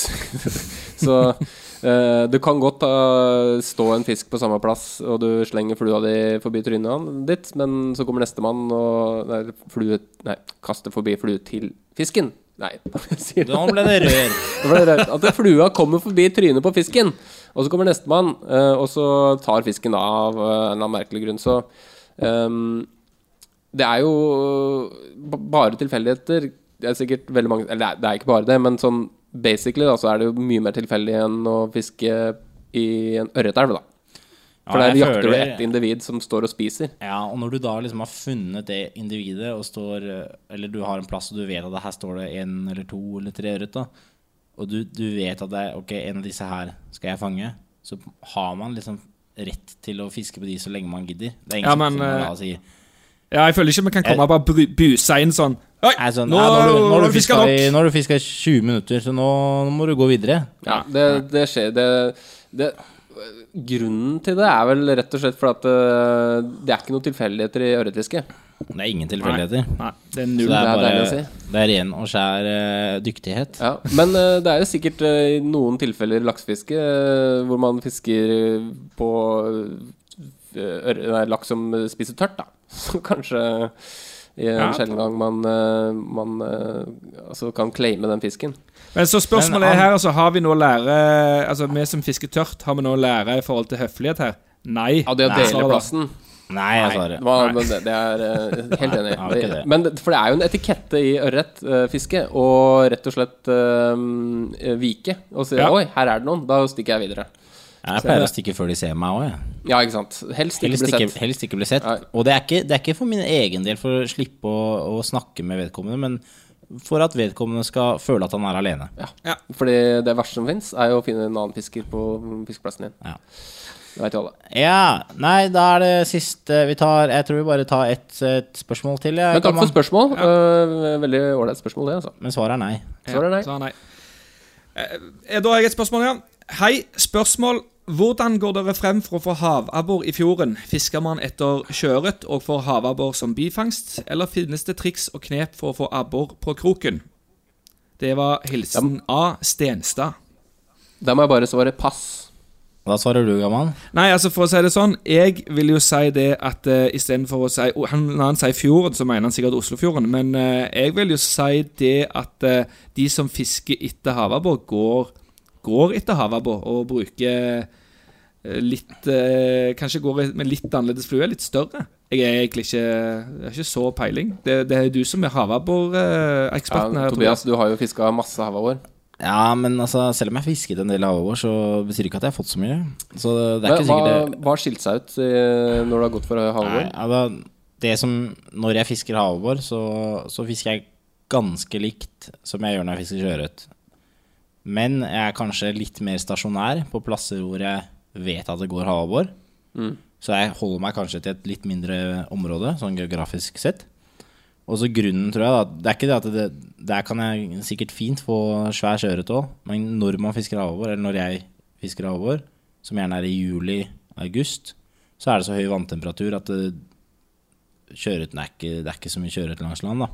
Så eh, du kan godt eh, stå en fisk på samme plass, og du slenger flua di forbi trynet han- ditt, men så kommer nestemann og nei, flue, nei, kaster forbi flue til fisken. Nei, hva sier
Nå ble det rør.
det ble rart At flua kommer forbi trynet på fisken, og så kommer nestemann, eh, og så tar fisken av eh, en eller annen merkelig grunn. Så ehm, det er jo b- bare tilfeldigheter. Det er sikkert veldig mange Eller det er- det er ikke bare det, men sånn basically da, så er det jo mye mer tilfeldig enn å fiske i en ørretelv, da. For
Ja,
der
jeg
jakter du
føler-
ett individ som står og spiser.
Ja, og når du da liksom har funnet det individet, og står eh, Eller du har en plass og du vet at det her står det én eller to eller tre ørret, da. Og du, du vet at det er Ok, en av disse her skal jeg fange. Så har man liksom rett til å fiske på de så lenge man gidder. Det er ingen
Ja,
som
men,
kommer
eh,
da og sier
Ja, jeg føler ikke vi kan komme og bare bru- buse inn sånn Oi,
Eh. Nei, sånn,
nå
ja, nå, har du- nå har du
fisker
fiska i,
nok!
nå har du fisket i 20 minutter, så nå, nå må du gå videre.
Ja, det, det skjer det, det, Grunnen til det er vel rett og slett fordi at eh, det er ikke noen tilfeldigheter i ørretfiske.
Det er ingen tilfeldigheter.
Nei, det er
Så
null.
det
Det
er,
er
bare,
deilig å
det er ren og skjær eh, dyktighet.
Ja, men eh, det er jo sikkert eh, i noen tilfeller laksefiske eh, hvor man fisker på eh, ør- nei, laks som spiser tørt, da. Så kanskje I en
Ja.
sjelden gang man, eh, man eh, altså kan claime den fisken.
Men så spørsmålet
Men
er
han-
her, altså, har vi nå lære Altså, vi som fisker tørt, har vi nå lære i forhold til høflighet her? Nei.
Ja, det å
Nei,
dele
Sara.
plassen
Nei, jeg svarer.
Hva- men det, det er eh, helt enig.
Nei, det er ikke det.
Men det- for det er jo en etikette i ørretfiske å rett og slett eh, vike og si
Ja.
'oi, her er det noen', da stikker jeg videre.
Jeg pleier å stikke før de ser meg òg, jeg.
Ja, ikke sant. Helst ikke
Helst
bli
ikke,
sett.
helst ikke bli sett.
Nei.
Og det er ikke, det er ikke for min egen del for å slippe å, å snakke med vedkommende, men for at vedkommende skal føle at han er alene.
Fordi det verste som fins, er jo å finne en annen fisker på fiskeplassen din.
Ja.
Det vet jo alle.
Ja, nei, da er det siste vi tar. Jeg tror vi bare tar ett et spørsmål til. Jeg,
Men takk
Gamma.
for spørsmål. Eh, veldig ålreit spørsmål, det, altså.
Men svaret er nei.
Svaret er nei.
Svaret er nei. Eh, Da har jeg et spørsmål, ja. Hei, spørsmål. Hvordan går dere frem for å få havabbor i fjorden? Fisker man etter sjøørret og får havabbor som bifangst, eller finnes det triks og knep for å få abbor på kroken? Det var hilsen A. Stenstad.
Da må jeg bare svare pass.
Da svarer du, gammal.
Nei, altså for å si det sånn, jeg vil jo si det at uh, istedenfor å si oh, han, Når han sier fjorden, så mener han sikkert Oslofjorden, men eh, jeg vil jo si det at eh, de som fisker etter havabbor, går, går etter havabbor og bruker eh, litt eh, Kanskje går med litt annerledes flue, litt større. Jeg er egentlig ikke, jeg har ikke så peiling. Det, det er du som er
Ja,
havabboreksperten her,
Tobias, du har jo fiska masse havabbor.
Ja, men altså, selv om jeg fisket en del av år, så betyr det ikke at jeg har fått så mye. Så det er
Hva
ikke sikkert det
hva har skilt seg ut eh, når du har gått for
Nei,
havabbor?
ja, da, det som Når jeg fisker havabbor, så, så fisker jeg ganske likt som jeg gjør når jeg fisker sjøørret. Men jeg er kanskje litt mer stasjonær på plasser hvor jeg vet at det går havabbor. Så jeg holder meg kanskje til et litt mindre område, sånn geografisk sett. Og så grunnen, tror jeg, da Det er ikke det at det, Der kan jeg sikkert fint få svær sjøørret òg, men når man fisker havabbor, eller når jeg fisker havabbor, som gjerne er i juli-august, så er det så høy vanntemperatur at det, sjøørreten er ikke Det er ikke så mye sjøørret langs land, da.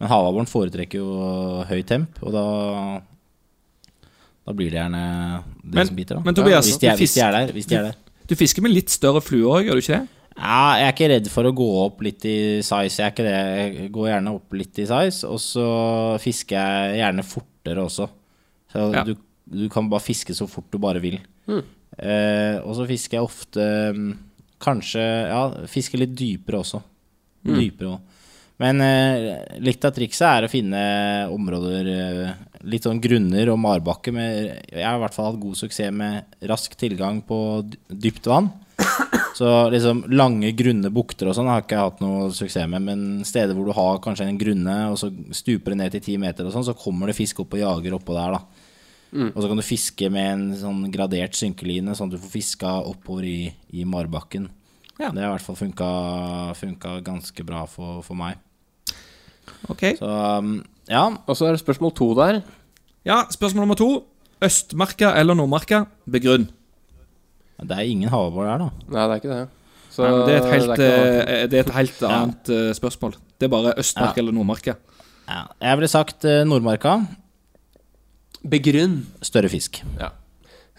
Men havabboren foretrekker jo høy temp, og da Da blir det gjerne det
Men-
som biter, da.
men Tobias,
hvis, de er,
du
hvis de er der. Hvis de er der.
Tobias. Du fisker med litt større flue òg, gjør du ikke det?
Ja, jeg er ikke redd for å gå opp litt i size. Jeg, er ikke det. jeg går gjerne opp litt i size, og så fisker jeg gjerne fortere også. Så
Ja.
du, du kan bare fiske så fort du bare vil. Eh, og så fisker jeg ofte mm, Kanskje Ja, fisker litt dypere også. Dypere òg. Men eh, litt av trikset er å finne områder eh, Litt sånn grunner og marbakke med Jeg har i hvert fall hatt god suksess med rask tilgang på dy- dypt vann. Så liksom lange, grunne bukter og sånn har jeg ikke hatt noe suksess med. Men steder hvor du har kanskje en grunne, og så stuper det ned til ti meter, og sånn, så kommer det fisk opp og jager oppå der, da. Og så kan du fiske med en sånn gradert synkeline, sånn at du får fiska oppover i, i marbakken.
Ja.
Det har i hvert fall funka, funka ganske bra for, for meg.
Ok.
Så um, ja,
Og så er det spørsmål to der.
Ja, spørsmål nummer to. Østmarka eller Nordmarka? Begrunn.
det er ingen havabbor der, da.
Nei, det er ikke det. Så
Nei, men det er et helt,
det er ikke noe-
eh, det er et helt annet eh, spørsmål. Det er bare Østmarka eller Nordmarka.
Ja. Jeg ville sagt eh, Nordmarka.
Begrunn.
Større fisk.
Ja.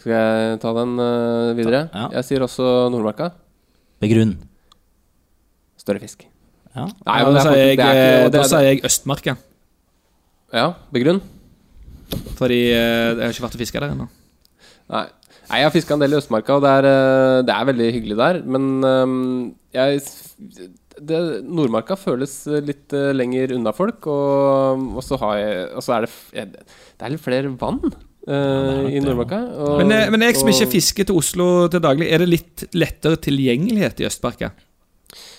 Skal jeg ta den eh, videre?
Ja.
Jeg sier også Nordmarka.
Begrunn.
Større fisk.
Ja.
Nei, men
Ja, da
det er
sier
faktisk-
jeg,
det er
eh,
ikke-
da
det er-
sier jeg Østmarka,
Ja, begrunn.
fordi eh, jeg har ikke vært og fiska der ennå.
Nei. Nei, jeg har fiska en del i Østmarka, og det er, eh, det er veldig hyggelig der. Men ehm, jeg det, Nordmarka føles litt eh, lenger unna folk, og, og så har jeg Og så er det f- jeg- Det er litt flere vann eh,
det er nok
i
det,
Nordmarka. og-
Men, eh, men jeg som
og-
ikke fisker til Oslo til daglig, er det litt lettere tilgjengelighet i Østmarka?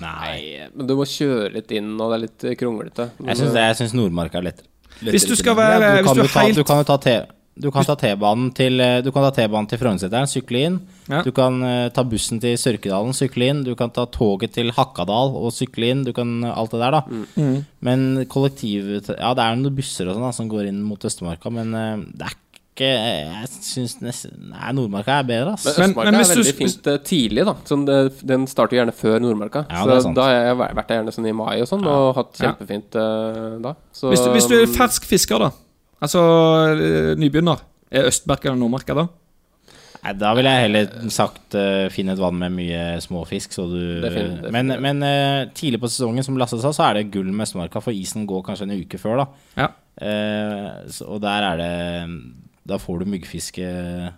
Nei, men du må kjøre litt inn, og det er litt eh, kronglete.
Jeg syns, det, jeg syns Nordmarka er lettere.
Hvis du
Ja,
skal være
du,
Hvis
kan
du
jo ta,
helt
du kan jo ta T- du kan ta T-banen til eh, Du kan ta T-banen til Frognerseteren, sykle inn.
Ja.
Du kan eh, ta bussen til Sørkedalen, sykle inn. Du kan ta toget til Hakkadal og sykle inn. Du kan eh, alt det der, da.
Mm.
Men kollektiv Ja, det er noen busser og sånn da som går inn mot Østmarka, men eh, det er ikke Jeg syns nesten Nei, Nordmarka er bedre, ass.
Men Eh, Østmarka
Men- men
er
hvis du-
veldig fint eh, tidlig, da. Sånn, det, den starter gjerne før Nordmarka.
Ja, det er
så
sant.
da har jeg væ- vært der gjerne sånn i mai og sånn, og hatt kjempefint eh, da. Så, um,
Hvis du, hvis du er fersk fisker, da. Altså eh, nybegynner. Er Østmarka eller Nordmarka da?
Nei, da ville jeg heller sagt eh, finn et vann med mye småfisk, så du
Det er fint, det er
Men,
fint.
men eh, tidlig på sesongen, som Lasse sa, så er det gull med Østmarka, for isen går kanskje en uke før, da.
Ja.
Eh, så, og der er det Da får du myggfiske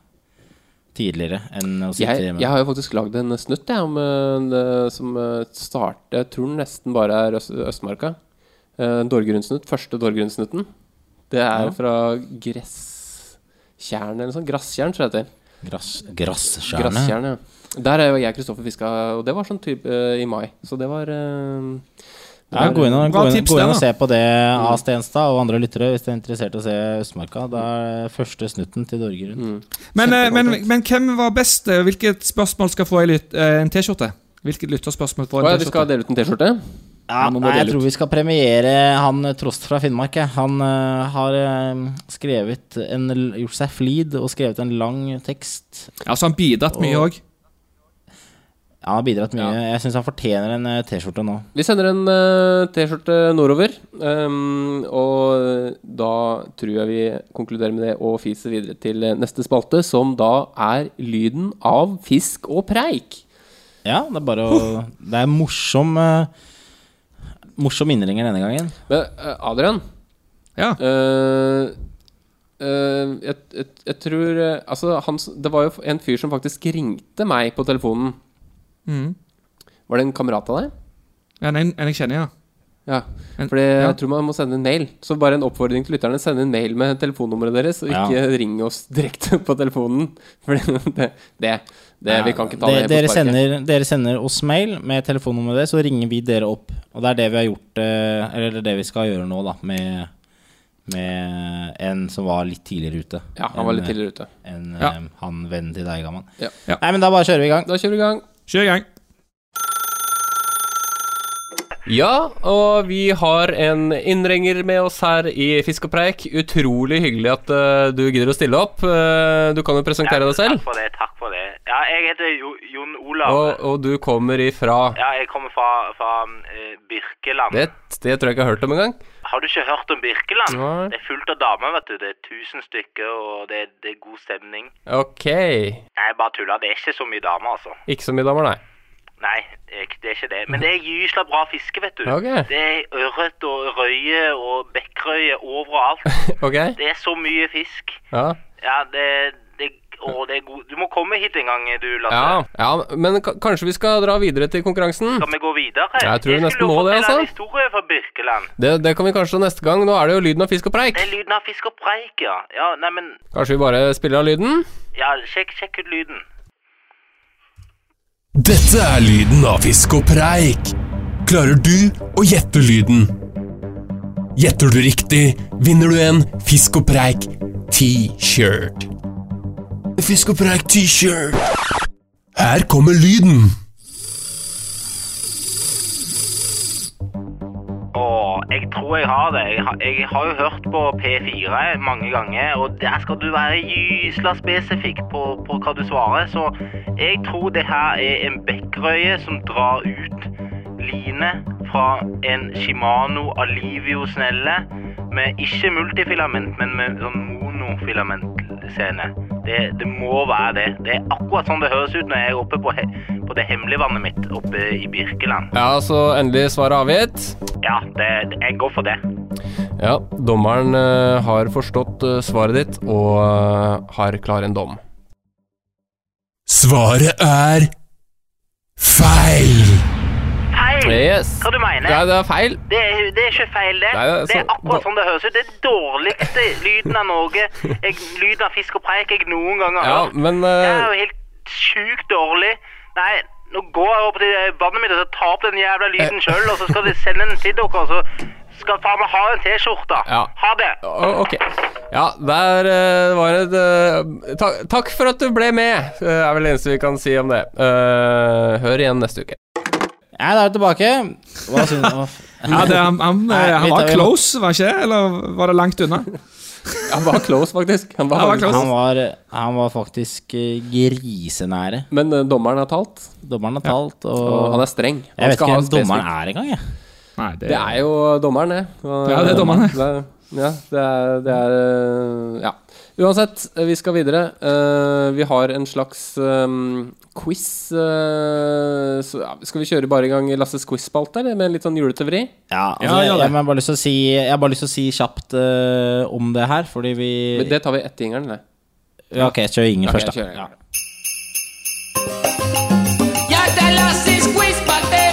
tidligere enn å sitte
Jeg,
hjemme.
jeg har jo faktisk lagd en snutt jeg, om, eh, det- som eh, starter Jeg tror den nesten bare er Øst, Østmarka. Eh, En Dorgrundsnutt. Første Dorgrundsnutten. Det er fra Gresstjern eller noe sånt. Grasstjern, tror jeg det heter.
Grass, grasskjærene.
Grasstjern, ja. Der er jo jeg Kristoffer fiska, og det var sånn type eh, i mai. Så det var eh, det
Ja,
var-
gå inn, og,
Bra
gå inn,
tips,
gå
det,
inn og
da.
se på det av Stenstad og andre lyttere hvis dere er interessert i å se Østmarka. Det er første snutten til Dorgerud.
Men, eh, men,
Kjempegodt.
men hvem var best? Eh, Hvilket spørsmål skal få ei lyt- eh, en T-skjorte? Hvilket lytterspørsmål får
Å ja,
en
vi skal
T-skjorte?
dele ut en T-skjorte?
Ja,
nå må
nei, jeg
dele ut.
tror vi skal premiere han eh, Trost fra Finnmark. jeg. Han eh, har eh, skrevet en, l- gjort seg flid og skrevet en lang tekst.
Ja, så han bidratt mye
Og-
òg.
Ja, han har bidratt mye. Jeg syns han fortjener en eh, T-skjorte nå.
Vi sender en eh, T-skjorte nordover. ehm, og da tror jeg vi konkluderer med det og fiser videre til eh, neste spalte, som da er lyden av fisk og preik.
Ja, det er bare å Det er morsom eh, Morsom innringer denne gangen.
Men eh, Adrian
Ja.
eh, eh, jeg, jeg, jeg tror eh, Altså, han, s- det var jo en fyr som faktisk ringte meg på telefonen.
Mhm.
Var det en kamerat av deg?
Ja, en, en jeg kjenner, ja.
Ja,
En-
for
ja.
jeg tror man må sende en mail. Så bare en oppfordring til lytterne. Send en mail med telefonnummeret deres, og
Ja.
ikke ring oss direkte på telefonen. For det, det, det Vi kan ikke ta det,
Dere-
på
dere,
sparket.
sender, dere sender oss mail med telefonnummeret deres, så ringer vi dere opp. Og det er det vi har gjort eh, Eller det er det vi skal gjøre nå, da, med, med en som var litt tidligere ute.
Ja, han var litt
En, eh,
tidligere ute.
enn
Ja.
eh, han vennen til deg, Gamman.
Ja.
Ja.
Nei, men da bare kjører vi i gang.
Da kjører vi i gang.
Kjør i gang.
Ja, og vi har en innringer med oss her i Fisk og preik. Utrolig hyggelig at eh, du gidder å stille opp. Eh, du kan jo presentere deg selv.
Takk for det, takk for det. Ja, jeg heter jo, Jon Olav.
Og, og du kommer ifra
Ja, jeg kommer fra, fra eh, Birkeland.
det, det tror jeg ikke jeg har hørt om engang.
Har du ikke hørt om Birkeland?
Nei.
Det er fullt av damer, vet du. Det er tusen stykker, og det, det er god stemning.
Ok.
Nei, jeg bare tuller. Det er ikke så mye damer, altså.
Ikke så mye damer, nei.
Nei, jeg, det er ikke det. Men det er gysla bra fiske, vet du.
Ok.
Det er ørret og røye og bekkrøye overalt.
Ok,
Det er så mye fisk.
ja.
Ja, det, det, å, det er god... Du må komme hit en gang, du, Lasse.
Ja, ja, men ka- kanskje vi skal dra videre til konkurransen?
Skal vi gå videre?
Jeg tror vi nesten
skulle
må det, altså.
fortelle en historie fra Birkeland.
Det, det kan vi kanskje neste gang. Nå er det jo lyden av fisk og preik.
Det er lyden av fisk og preik, ja. Ja, nei, men,
Kanskje vi bare spiller av lyden?
ja, sjekk, sjekk ut lyden.
Dette er lyden av fisk og preik. Klarer du å gjette lyden? Gjetter du riktig, vinner du en fisk og preik T-shirt. Fisk og preik T-shirt. Her kommer lyden.
Å, jeg tror jeg har det. Jeg har, jeg har jo hørt på P4 mange ganger, og der skal du være gysla spesifikk på, på hva du svarer, så jeg tror det her er en bekkrøye som drar ut line fra en Shimano Alivio Snelle med ikke multifilament, men med sånn monofilamentscene. Det, det må være det. Det er akkurat sånn det høres ut når jeg er oppe på, he på det hemmelige vannet mitt oppe i Birkeland.
Ja, så endelig svaret avgitt.
Ja, det, det, jeg går for det.
Ja, dommeren eh, har forstått eh, svaret ditt og eh, har klar en dom.
Svaret er feil.
Feil!
Yes.
Hva du mener?
Nei, det er feil.
Det er, det er ikke feil, det.
Nei, det er
det er
så-
akkurat sånn det høres ut. Det er dårligste lyden av Norge. Jeg, lyden av fisk og preik jeg noen gang har
Ja,
hørt.
men
Det er
eh,
jo helt sjukt dårlig. Nei, nå går jeg opp til vannet mitt og så tar opp den
Eh,
jævla lyden sjøl, og så skal de sende den til dere, og så skal faen meg ha en T-skjorte.
Ja.
Ha det.
å, Ok. Ja, der eh, var det eh, ta, Takk for at du ble med, eh, er vel det eneste vi kan si om det. Eh, hør igjen neste uke.
Ja, da er vi tilbake. Hva syns du?
Ja, det, han, han, eh,
Nei,
han
vi tar-
var
vi må-
close, var ikke det? Eller var det langt unna?
Han var close, faktisk. Han var
Han var
faktisk
close.
Han var, han var faktisk eh, grisenære.
Men eh, dommeren har talt,
Dommeren har talt, og,
og han er streng. Han
Jeg vet
skal
ikke
ha
hvem dommeren
spesifikk-
er engang, jeg.
Nei,
Det er jo dommeren, det. Og-
Ja, det er dommeren, det.
det. er- Ja, det er, det er eh, Ja. Uansett, eh, vi skal videre. Eh, vi har en slags eh, quiz. eh, så, ja, skal vi kjøre bare i gang Lasses quiz-spalte, eller? Med en litt sånn julete vri?
Ja, altså,
Ja, gjør det.
jeg, men jeg, har bare lyst til å si, jeg har bare lyst til å si kjapt eh, om det her, fordi vi
Men Det tar vi etter jingeren, det.
ja, Ok, kjør ingen
Ok,
først, da.
kjør jingeren.
Jeg det Lasses quiz-party.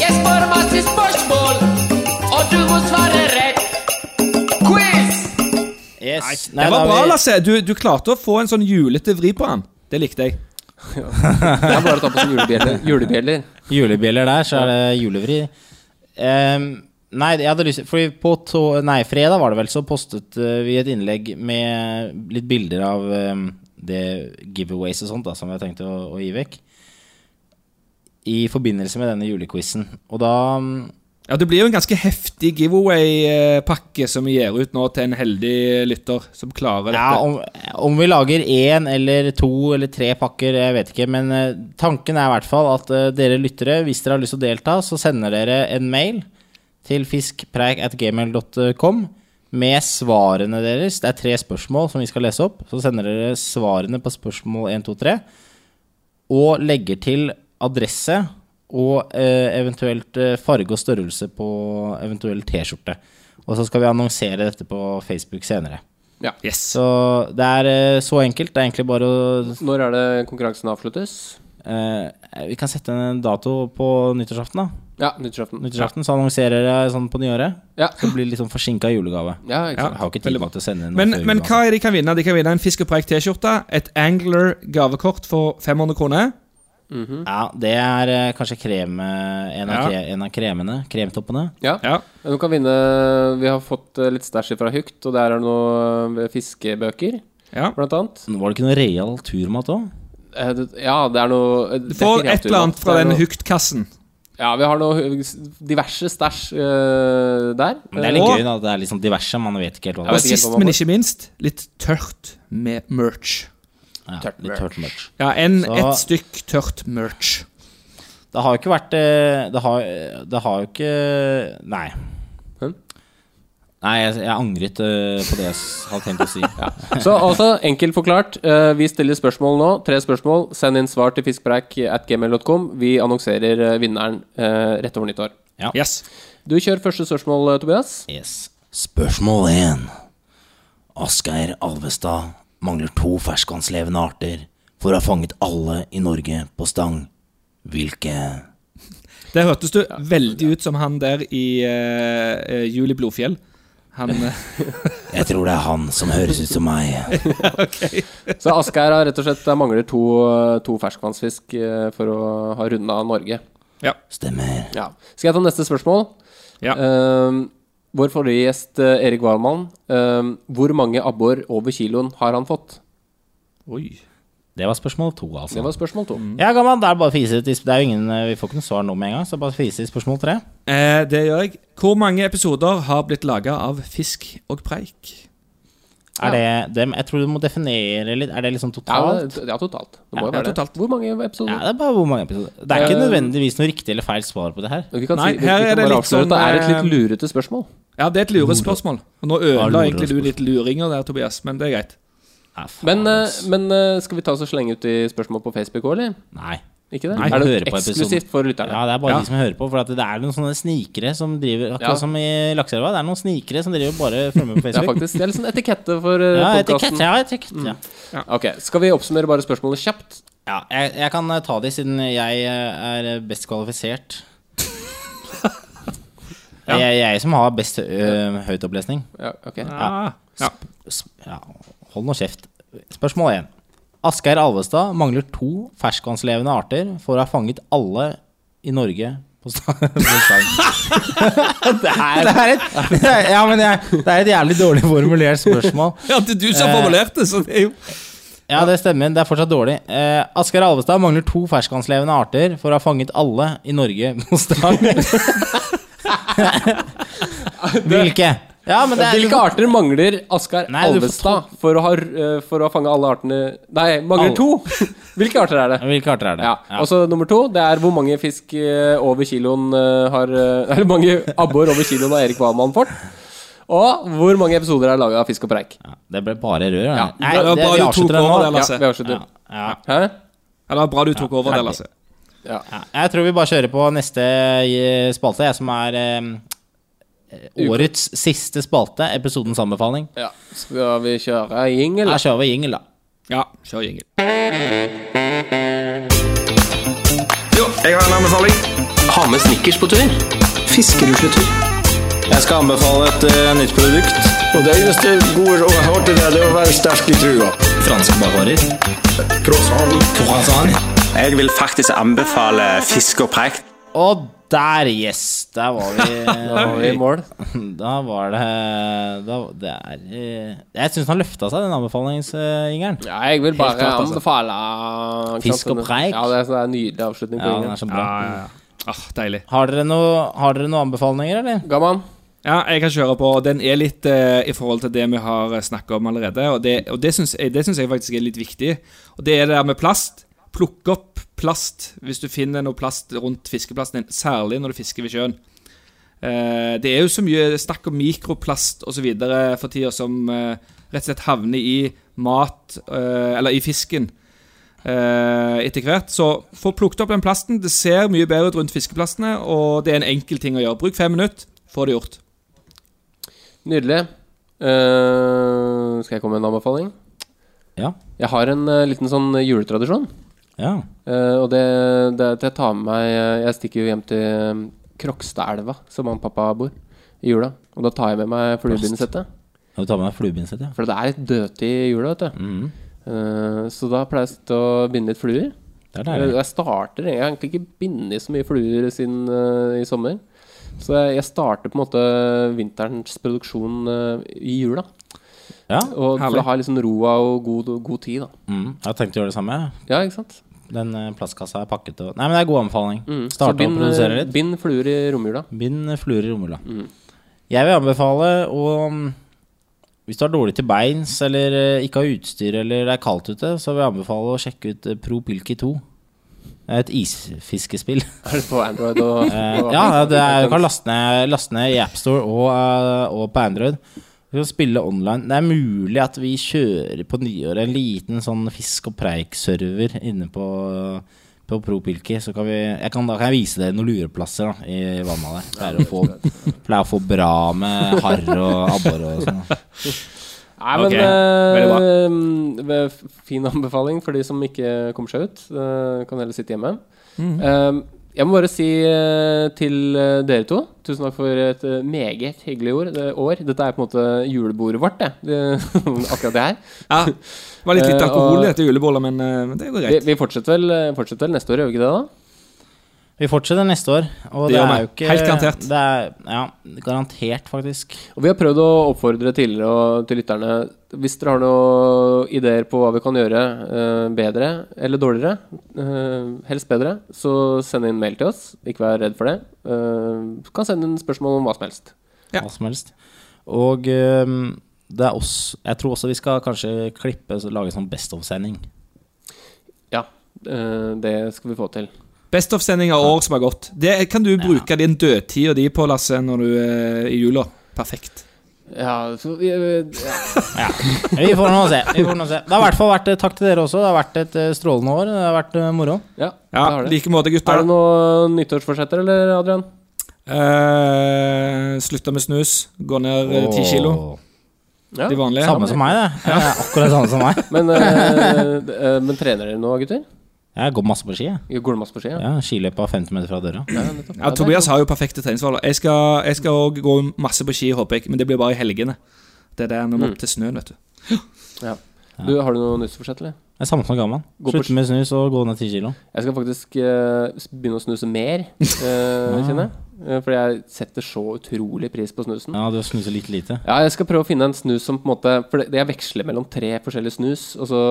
Jeg spør masse spørsmål, og du må svare rett. Quiz!
Yes. Nei, da
Det var
har
bra,
vi-
Lasse. Du, du klarte å få en sånn julete vri på han. Det likte jeg.
Det er bare å ta på seg julebjeller. julebjeller.
Julebjeller der, så er det julevri. Ehm, nei, jeg hadde lyst Fordi på to, nei, fredag var det vel, så postet eh, vi et innlegg med litt bilder av ehm, det giveaways og sånt da, som vi har tenkt å, å gi vekk. I forbindelse med denne julequizen. Og da mm,
Ja, Det blir jo en ganske heftig giveaway-pakke som vi gir ut nå til en heldig lytter som klarer dette.
Ja, om, om vi lager én eller to eller tre pakker, jeg vet ikke. Men eh, tanken er i hvert fall at eh, dere lyttere, hvis dere har lyst til å delta, så sender dere en mail til fiskpreik.gmail.com med svarene deres. Det er tre spørsmål som vi skal lese opp. Så sender dere svarene på spørsmål 1, 2, 3, og legger til adresse og eh, eventuelt eh, farge og størrelse på eventuell T-skjorte. Og så skal vi annonsere dette på Facebook senere.
Ja.
Yes.
Så det er eh, så enkelt. Det er egentlig bare å
Når er det konkurransen avsluttes?
eh, Vi kan sette en dato på nyttårsaften, da.
Ja, nyttårsaften.
Nyttårsaften, Så annonserer jeg sånn på nyåret.
Ja.
Så blir det litt sånn forsinka julegave.
ja, ikke
Jeg
sant.
har ikke tid til å sende inn noe
Men,
før
men
julegave.
hva er det de kan vinne? De kan vinne en Fisk og Preik T-skjorte, et Angler gavekort for 500 kroner.
Ja, det er eh, kanskje krem, eh, en, av
Ja.
kre, en av kremene. Kremtoppene.
Ja.
Ja.
Du kan vinne Vi har fått eh, litt stæsj fra Hugt, og der er det noen fiskebøker,
ja.
blant annet.
Var det ikke noe real turmat òg?
Eh, det- Ja, det er noe
Du får et eller annet fra den
Hugt.
Hugt-kassen.
Ja, vi har noe diverse stæsj eh, der.
Men det er litt
Og-
gøy da, at det er litt sånn diverse. Man vet ikke helt
Jeg
hva det
Og
vet ikke helt
sist,
hva man
men
får.
ikke minst, litt tørt med merch.
er. Ja, litt tørt merch.
Ja, en,
Så-
et stykk tørt merch.
Det har jo ikke vært eh, Det har, det har jo ikke Nei.
Hm?
Nei, jeg, jeg angret eh, på det jeg s- hadde tenkt å si.
Så altså, enkelt forklart, eh, vi stiller spørsmål nå. Tre spørsmål. Send inn svar til fiskpreik.gmail.com. Vi annonserer eh, vinneren eh, rett over nyttår.
Yes.
Du kjører første spørsmål, eh, Tobias.
Yes. Spørsmål 1. Asgeir Alvestad mangler to ferskvannslevende arter for å ha fanget alle i Norge på stang. Hvilke
Det hørtes du veldig ut som han der i eh, eh, Juli Blodfjell. Han eh,
Jeg tror det er han som høres ut som meg.
Så Asgeir har rett og slett der mangler to, eh, to ferskvannsfisk eh, for å ha runda Norge.
Stemmer.
Ja. Skal jeg ta neste spørsmål?
Ja.
Eh, vår forrige gjest, eh, Erik Wahlmann, eh, hvor mange abbor over kiloen har han fått?
Oi.
Det var spørsmål to,
Det
altså.
var spørsmål to.
Ja, gammel, det er bare å fise ut. i sp- Det er jo ingen, eh, vi får ikke noe svar nå med en gang, så bare fise i spørsmål tre.
Eh, det gjør jeg. Hvor mange episoder har blitt laga av Fisk og Preik?
Er det dem? Jeg tror du må definere litt. Er det liksom
Ja,
totalt?
t- ja, totalt. Det må
Ja,
jo være
ja, totalt.
det. Hvor mange episoder?
Ja, det er bare hvor mange episoder. Det er ikke
Eh,
nødvendigvis noe riktig eller feil svar på det her.
Vi kan
Nei,
si, vi,
her
vi
er
kan
det
bare
litt
avsløre at det
sånn,
er et litt
eh,
lurete spørsmål.
Ja, Oh, det er et lurespørsmål. Og nå ødela
Ja,
egentlig du
lurespørsmål.
litt luringer der, Tobias, men det er
Ja,
greit.
Ah, faen,
Men, eh,
ass.
men eh, skal vi ta oss og slenge ut i spørsmål på Facebook òg, eller?
Nei.
Ikke det?
Nei,
er
hører
det
på episoden.
eksklusivt for
Ja,
lytterne?
det er bare
Ja.
de som hører på. For at det er noen sånne snikere som driver
Ja.
Akkurat som i Lakseelva. Det er noen snikere som driver og bare følger med på
Ja,
Facebook.
faktisk. Mm. Det er litt sånn etikette for uh,
Ja, etikett.
podkasten.
Ja, etikett. Ja.
Ok, Skal vi oppsummere bare spørsmålet kjapt?
Ja, jeg, jeg kan eh, ta de, siden jeg eh, er best kvalifisert. Det er jeg, jeg som har best eh, høytopplesning.
Ja, ok
Ah. Ja.
Sp- ja, hold nå kjeft. Spørsmål 1. Asgeir Alvestad mangler to ferskvannslevende arter for å ha fanget alle i Norge på sta- på stang. det, er, det, er et, det, er, ja, men jeg, det er et jævlig dårlig formulert spørsmål.
Ja, det er du som formulerte, så det er jo
Ja, det stemmer. Det er fortsatt dårlig. Eh, Asgeir Alvestad mangler to ferskvannslevende arter for å ha fanget alle i Norge på stang. Hvilke? Ja, men det er liksom-
Hvilke arter mangler Asgeir
Nei, du får
Alvestad for å, ha, eh, for å ha fanget alle artene Nei, mangler
Alle.
to! Hvilke arter er det?
Hvilke arter er det?
Ja. Og så nummer to, det er hvor mange fisk eh, over kiloen eh, har eh, Eller hvor mange abbor over kiloen har Erik Wahlmann fått? Og hvor mange episoder er laga av Fisk og preik?
Ja, det ble bare rør. Ja. Nei,
Det var
det, vi
bare du tok
avslutter det
over,
nå.
Ja,
eller? Lasse.
vi avslutter.
Ja,
Hæ?
Ja, det var bra du tok over det,
ferdig.
Lasse.
ja. Jeg tror vi bare kjører på neste eh, spalte, jeg, som er eh, årets siste spalte. Episodens anbefaling.
Ja. Skal vi kjøre jingle?
Her kjører vi jingle, da.
Ja, kjør jingle.
Ha med snickers på tur. Fiskerusletur.
Jeg skal anbefale et
eh,
nytt produkt.
Og det eneste gode rådet jeg har til deg, det er å være sterk i trua.
Franske bakvarer.
Jeg vil faktisk anbefale fisk og preik.
Og der, yes! Der var vi eh,
I mål.
Da var det da, Det er eh, Jeg syns han løfta seg, den anbefalingsjingeren.
Ja, jeg vil bare
klart, altså.
anbefale
Fisk og preik.
Ja, det er sånn det er en nydelig avslutning på
Ja, den
jingelen.
er så bra.
Ah, deilig.
Har dere noen noe anbefalinger, eller?
Gammel.
Ja, jeg kan kjøre på. Den er litt eh, i forhold til det vi har snakka om allerede. Og det, og det syns jeg, det syns jeg faktisk er litt viktig. Og det er det der med plast. Plukk opp plast hvis du finner noe plast rundt fiskeplassen din, særlig når du fisker ved sjøen. Eh, det er jo så mye snakk om mikroplast osv. for tida som eh, rett og slett havner i mat, eh, eller i fisken, eh, etter hvert. Så få plukket opp den plasten. Det ser mye bedre ut rundt fiskeplastene, og det er en enkel ting å gjøre. Bruk fem minutter, få det gjort.
Nydelig. Eh, skal jeg komme med en anbefaling?
Ja.
Jeg har en eh, liten sånn juletradisjon.
Ja.
Eh, og det, det er at jeg tar med meg eh, Jeg stikker jo hjem til eh, Krokstadelva, som han pappa bor, i jula. Og da tar jeg med meg fluebindesettet.
Kan du ta med deg fluebindsett, ja? Mm,
For det er litt dødtid i jula, vet du. Eh, så da pleier jeg å sitte og binde litt fluer.
Det er
Jeg,
deilig.
jeg starter Jeg har egentlig ikke bindet så mye fluer siden eh, i sommer. Så jeg, jeg starter på en måte vinterens produksjon eh, i jula.
Ja.
Og
Herlig.
for å ha liksom roa og god, god tid, da.
Mm. Jeg har tenkt å gjøre det samme. jeg.
Ja, ikke sant?
Den eh, plastkassa er pakket og Nei, men det er god anbefaling.
Mm. Så
Starte å
bind, eh,
produsere litt.
bind fluer i romjula.
Bind fluer i romjula.
Mm.
Jeg vil anbefale å mm, Hvis du er dårlig til beins, eller eh, ikke har utstyr, eller det er kaldt ute, så vil jeg anbefale å sjekke ut eh, Pro Pilki 2. Det er et isfiskespill.
Er det på Android og,
Eh,
og
ja, det er, du kan laste ned, laste ned i AppStore og, eh, og på Android. Du kan spille online. Det er mulig at vi kjører på nyåret en liten sånn fisk og preik-server inne på, på ProPilky. Så kan vi, jeg kan, da kan jeg vise dere noen lureplasser da, i vannet der. Pleier å få, pleier å få bra med harr og abbor og sånn.
Nei, men
Ok,
eh, eh, f- Fin anbefaling for de som ikke kommer seg ut. eh, kan heller sitte hjemme.
Mm.
Eh, jeg må bare si eh, til eh, dere to Tusen takk for et eh, meget hyggelig ord, det, år. Dette er på en måte julebordet vårt, det. det akkurat det her.
Ja, det var litt litt
Eh,
alkohol
og-
etter juleboller, men, eh, men det går
Vi,
greit.
vi fortsetter, vel, eh, fortsetter vel neste år, gjør vi ikke det? da?
Vi fortsetter neste år. Og
Det
det,
gjør
er
vi.
jo ikke
Helt garantert.
Det er, ja, garantert, faktisk.
Og vi har prøvd å oppfordre tidligere og til lytterne Hvis dere har noen ideer på hva vi kan gjøre eh, bedre eller dårligere, eh, helst bedre, så send inn mail til oss. Ikke vær redd for det. Eh, kan sende inn spørsmål om hva som helst.
Ja.
hva som helst. Og ehm, det er oss Jeg tror også vi skal kanskje klippe så lage sånn Best of-sending.
Ja, eh, det skal vi få til.
Best of-sending av år som har gått. Det kan du bruke din dødtid og de på, Lasse, når du er i jula. Perfekt.
Ja, så vi, eh, ja.
Vi får nå se. Vi får nå se. Det har i hvert fall vært eh, Takk til dere også. Det har vært et eh, strålende år. Det har vært eh, moro.
ja,
Ja,
det har det.
like måte,
Er
gutter.
det noen nyttårsforsetter, eller, Adrian?
Eh, Slutta med snus. Gå ned eh, ti kilo.
Ja.
De vanlige.
Samme som meg, det. Ja, akkurat samme som meg.
Men, eh, d- eh, men trener dere nå, gutter?
Jeg går masse på ski. Jeg.
Går det masse på ski? Ja?
Ja, Skiløypa 50 meter fra døra.
Ja, nettopp.
Ja, Tobias har jo perfekte treningsvaner. Jeg skal jeg skal òg gå masse på ski, håper jeg, men det blir bare i helgene. Det er der vi
Mm.
må opp til snøen, vet du.
Du, har du noe nyttårsforsett, eller?
Det er samme som gammel.
Gå på
Slutte
ski.
med snus og gå ned ti kilo.
Jeg skal faktisk eh, s- begynne å snuse mer, eh, kjenner jeg. Eh, fordi jeg setter så utrolig pris på snusen. Ja.
Ja, du snuser litt lite.
jeg skal prøve å finne en snus som på en måte For det, jeg veksler mellom tre forskjellige snus. Altså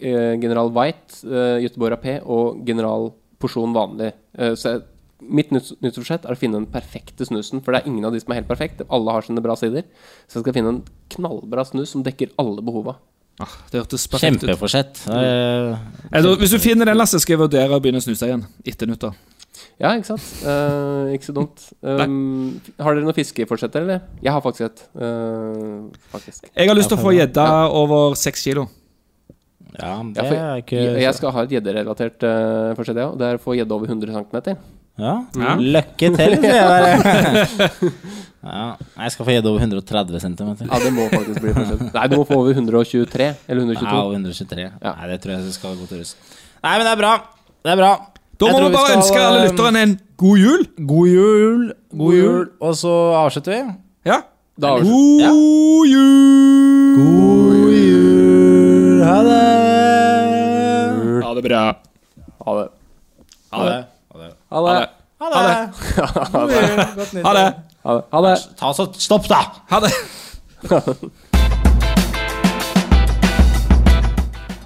eh, General White, eh, Göteborg AP og General Porsjon vanlig. Eh, så jeg, mitt nytts- nyttårsforsett er å finne den perfekte snusen. For det er ingen av de som er helt perfekt. Alle har sine bra sider. Så jeg skal finne en knallbra snus som dekker alle behova.
Ah, det hørtes perfekt ut.
Kjempeforsett. Det er-
Jeg tror- Hvis du finner den, Lasse, skal jeg vurdere å begynne å snuse igjen. Etter nyttår.
Ja, ikke sant? Eh, ikke så dumt. Um, har dere noe fiskeforsett, eller? Jeg har faktisk et. eh, faktisk.
Jeg har lyst til å få gjedda over seks kilo.
Ja, men
Ja,
det
for
er ikke
jeg, jeg skal ha et gjedderelatert uh, forsett, jeg òg. Det er å få gjedde over 100 cm.
Ja, Lykke til, sier jeg bare. Ja. Nei, Jeg skal få gjedde over 130 cm.
Ja, det må faktisk bli forsett. Nei, du må få over 123 eller 122.
Ja, og 123. Nei, det tror jeg skal gå til russ. Nei, men det er bra. Det er bra.
Da
Jeg
må
tror
vi bare
skal,
ønske alle
eh,
lytterne en god jul.
god jul. God jul. Og så avslutter vi.
Ja.
Da har vi-
God jul!
God jul. Ha det.
Ha det bra.
Ha det.
Ha det.
Ha det.
Ha det. God jul. Godt nytt.
Ha det.
Ha det. Ha det.
Ta så Stopp, da!
Ha det.